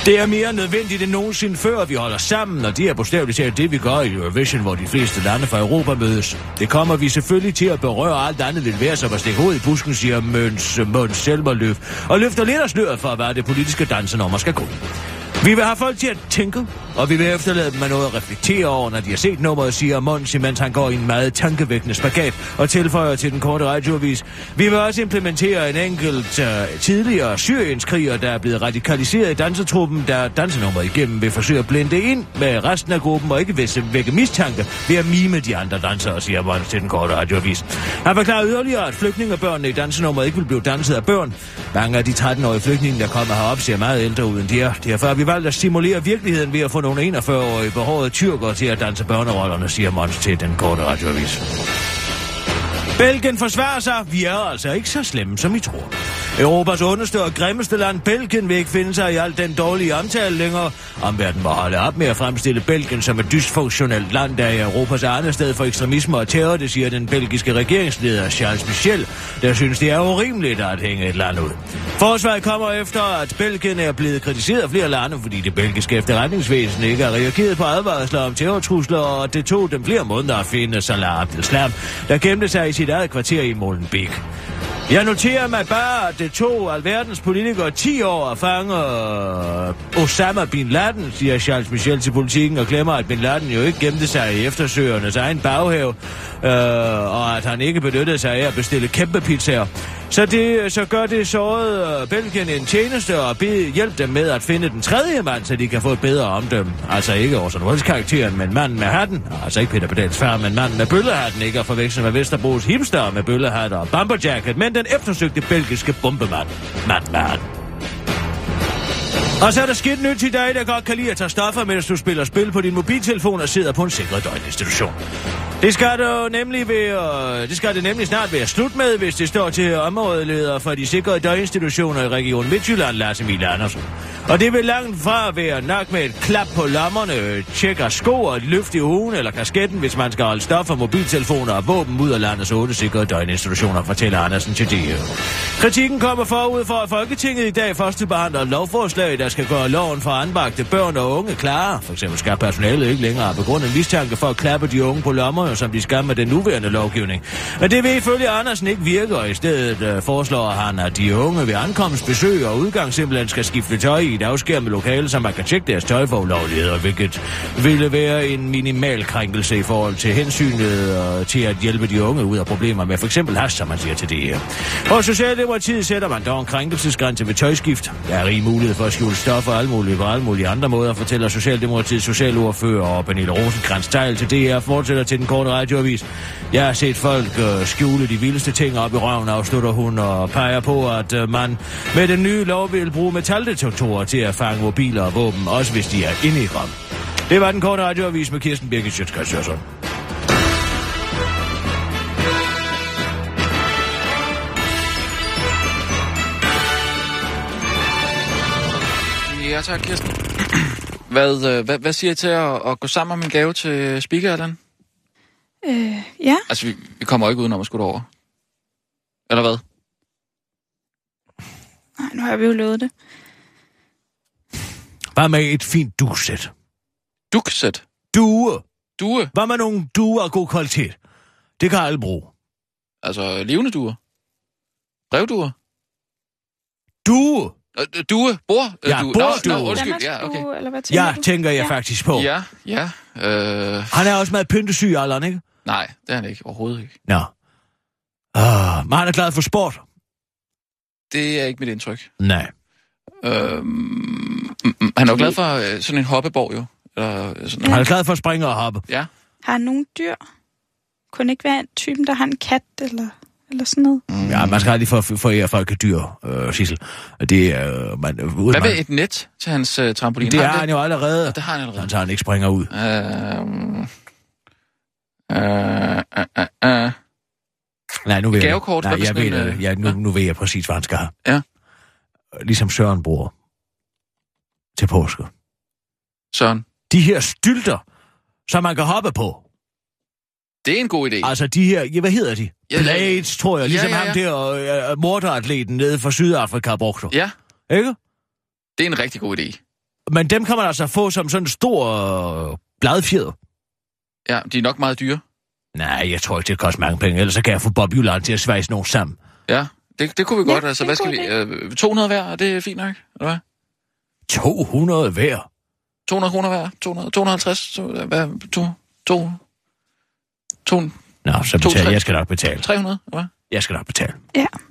Speaker 5: Det er mere nødvendigt end nogensinde før, at vi holder sammen, og det er bogstaveligt talt det, vi gør i Eurovision, hvor de fleste lande fra Europa mødes. Det kommer vi selvfølgelig til at berøre alt andet lidt værd, som at stikke hovedet i busken, siger Møns, Møns Selmerløf, og løfter lidt af sløret for, hvad det politiske dansenummer skal gå. Vi vil have folk til at tænke, og vi vil efterlade dem med noget at reflektere over, når de har set nummeret, siger Mons, imens han går i en meget tankevækkende spagat og tilføjer til den korte radioavis. Vi vil også implementere en enkelt uh, tidligere syrienskriger, der er blevet radikaliseret i dansetruppen, der dansenummeret igennem vil forsøge at blende ind med resten af gruppen og ikke væsse- vække mistanke ved at mime de andre dansere, siger Mons til den korte radioavis. Han forklarer yderligere, at flygtningebørnene i dansenummeret ikke vil blive danset af børn. Mange af de 13-årige flygtninge, der kommer herop, ser meget ældre ud end de er. Derfor har vi valgt at simulere virkeligheden ved at få nogle 41-årige behårede tyrker til at danse børnerollerne, siger Mons til den korte radioavis. Belgien forsvarer sig. Vi er altså ikke så slemme, som I tror. Europas ondeste og grimmeste land, Belgien, vil ikke finde sig i al den dårlige omtale længere. Omverden må holde op med at fremstille Belgien som et dysfunktionelt land, der er Europas andet sted for ekstremisme og terror, det siger den belgiske regeringsleder Charles Michel, der synes, det er urimeligt at hænge et land ud. Forsvaret kommer efter, at Belgien er blevet kritiseret af flere lande, fordi det belgiske efterretningsvæsen ikke har reageret på advarsler om terrortrusler, og det tog dem flere måneder at finde Salah Abdeslam, der gemte sig i sit eget kvarter i Molenbeek. Jeg noterer mig bare, at det tog alverdens politikere 10 år at fange øh, Osama Bin Laden, siger Charles Michel til politikken, og glemmer, at Bin Laden jo ikke gemte sig i eftersøgernes egen baghave, øh, og at han ikke benyttede sig af at bestille kæmpe pizzaer. Så, det, så gør det såret øh, Belgien en tjeneste og bed, hjælp dem med at finde den tredje mand, så de kan få et bedre omdømme. Altså ikke Orson Welles karakteren, men manden med hatten. Altså ikke Peter Pedals far, men manden med bøllehatten. Ikke at forveksle med Vesterbros hipster med bøllehat og bomberjacket, men den eftersøgte belgiske bombemand. Mand med hatten. Og så er der skidt nyt i dag, der godt kan lide at tage stoffer, mens du spiller spil på din mobiltelefon og sidder på en sikret døgninstitution. Det skal, du nemlig være, det skal det nemlig snart være slut med, hvis det står til områdeleder for de sikrede døgninstitutioner i Region Midtjylland, Lars Emil Andersen. Og det vil langt fra være nok med et klap på lommerne, tjek af sko og et løft i ugen eller kasketten, hvis man skal holde stoffer, mobiltelefoner og våben ud af landets otte sikrede døgninstitutioner, fortæller Andersen til DH. Kritikken kommer forud for, at Folketinget i dag førstebehandler et lovforslag, der skal gøre loven for anbragte børn og unge klare. For eksempel skal personalet ikke længere have begrundet mistanke for at klappe de unge på lommerne, som de skal med den nuværende lovgivning. Men det vil ifølge Andersen ikke virke, og i stedet øh, foreslår han, at de unge ved ankomstbesøg og udgang simpelthen skal skifte tøj i et afskærmet lokale, så man kan tjekke deres tøj for ulovligheder, hvilket ville være en minimal krænkelse i forhold til hensynet og til at hjælpe de unge ud af problemer med for eksempel hash, som man siger til det her. Og Socialdemokratiet sætter man dog en krænkelsesgrænse ved tøjskift. Der er rig mulighed for at skjule stoffer og alt muligt på alle mulige andre måder, fortæller Socialdemokratiets socialordfører og Pernille Rosenkrantz Teil til DR fortsætter til den korte radioavis. Jeg har set folk øh, skjule de vildeste ting op i røven, afslutter hun og peger på, at øh, man med den nye lov vil bruge metaldetektorer til at fange mobiler og våben, også hvis de er inde i rum. Det var den korte radioavis med Kirsten Birgit Sjøtskrets Jørgensen.
Speaker 4: Ja, tak, Kirsten. Hvad, øh, hvad, hvad siger I til at, at gå sammen om en gave til speaker, Allan?
Speaker 6: Øh, ja.
Speaker 4: Altså, vi, vi kommer jo ikke udenom at skulle over. Eller hvad?
Speaker 6: Nej, nu har vi jo lovet det.
Speaker 5: Hvad med et fint duesæt?
Speaker 4: Duksæt.
Speaker 5: Due!
Speaker 4: Due.
Speaker 5: Hvad med nogle duer af god kvalitet? Det kan alle bruge.
Speaker 4: Altså, levende duer. Brevduer.
Speaker 5: Due!
Speaker 4: Øh, øh, Due. Bor. øh,
Speaker 5: Ja,
Speaker 4: due.
Speaker 5: bordue.
Speaker 4: Nå, nå, undskyld. Ja,
Speaker 6: Danmarksdue,
Speaker 4: okay.
Speaker 6: Eller hvad tænker
Speaker 5: Ja,
Speaker 6: du?
Speaker 5: tænker jeg
Speaker 6: Ja.
Speaker 5: faktisk på.
Speaker 4: Ja, ja. Øh,
Speaker 5: Han er også meget pyntesyg, Allan, ikke?
Speaker 4: nej, det er han ikke. Overhovedet ikke.
Speaker 5: Nå. Ah, men han er glad for sport.
Speaker 4: Det er ikke mit indtryk.
Speaker 5: Nej.
Speaker 4: Øh, mm, mm, han er jo glad for øh, sådan en hoppeborg, jo. Eller øh, sådan
Speaker 5: Han er
Speaker 4: noget.
Speaker 5: glad for at springe og hoppe.
Speaker 4: Ja.
Speaker 6: Har han nogle dyr? Kunne ikke være en typen, der har en kat eller, eller sådan noget?
Speaker 5: Ja, man skal aldrig for, for ære folk af dyr, øh, Sissel. Det er... Øh, man, øh, uden
Speaker 4: Hvad
Speaker 5: man,
Speaker 4: med et net til hans øh, trampolin?
Speaker 5: det er
Speaker 4: Har
Speaker 5: han jo allerede.
Speaker 4: Det har han allerede.
Speaker 5: Han tager han ikke springer ud.
Speaker 4: Øhm. Øh, øh, øh, øh.
Speaker 5: Nej, nu ved
Speaker 4: Gavekort,
Speaker 5: jeg.
Speaker 4: hvad
Speaker 5: Nej,
Speaker 4: hvis sådan
Speaker 5: jeg ved,
Speaker 4: en,
Speaker 5: det.
Speaker 4: øh,
Speaker 5: ja, nu,
Speaker 4: ja.
Speaker 5: nu ved jeg præcis, hvad han skal have.
Speaker 4: Ja.
Speaker 5: Ligesom Søren bruger. Til påske.
Speaker 4: Søren,
Speaker 5: De her stylter, som man kan hoppe på.
Speaker 4: det er en god idé.
Speaker 5: Altså de her, ja, hvad hedder de?
Speaker 4: Ja, ja, ja.
Speaker 5: Blades, tror jeg.
Speaker 4: Ja,
Speaker 5: Ligesom
Speaker 4: ja, ja.
Speaker 5: ham der øh, øh, morderatleten nede fra Sydafrika brugte.
Speaker 4: Ja,
Speaker 5: Ikke?
Speaker 4: det er en rigtig god idé.
Speaker 5: Men dem kan man altså få som sådan en stor øh, bladfjeder.
Speaker 4: Ja, de er nok meget dyre.
Speaker 5: Nej, jeg tror ikke, det koster mange penge, ellers så kan jeg få Bob Jylland til at svejse nogen sammen.
Speaker 4: Ja, det, det kunne vi
Speaker 6: Ja,
Speaker 4: godt. altså,
Speaker 6: det
Speaker 4: hvad
Speaker 6: er
Speaker 4: skal
Speaker 6: en
Speaker 4: vi...
Speaker 6: god
Speaker 4: Øh, 200 hver, er det fint nok? Eller hvad?
Speaker 5: 200 hver.
Speaker 4: 200 kroner hver? 200, 250? To, hvad? To, to, to,
Speaker 5: Nå, så
Speaker 4: To,
Speaker 5: betal.
Speaker 4: tre.
Speaker 5: Jeg skal nok betale.
Speaker 4: 300? Eller hvad?
Speaker 5: Jeg skal nok betale.
Speaker 6: Ja.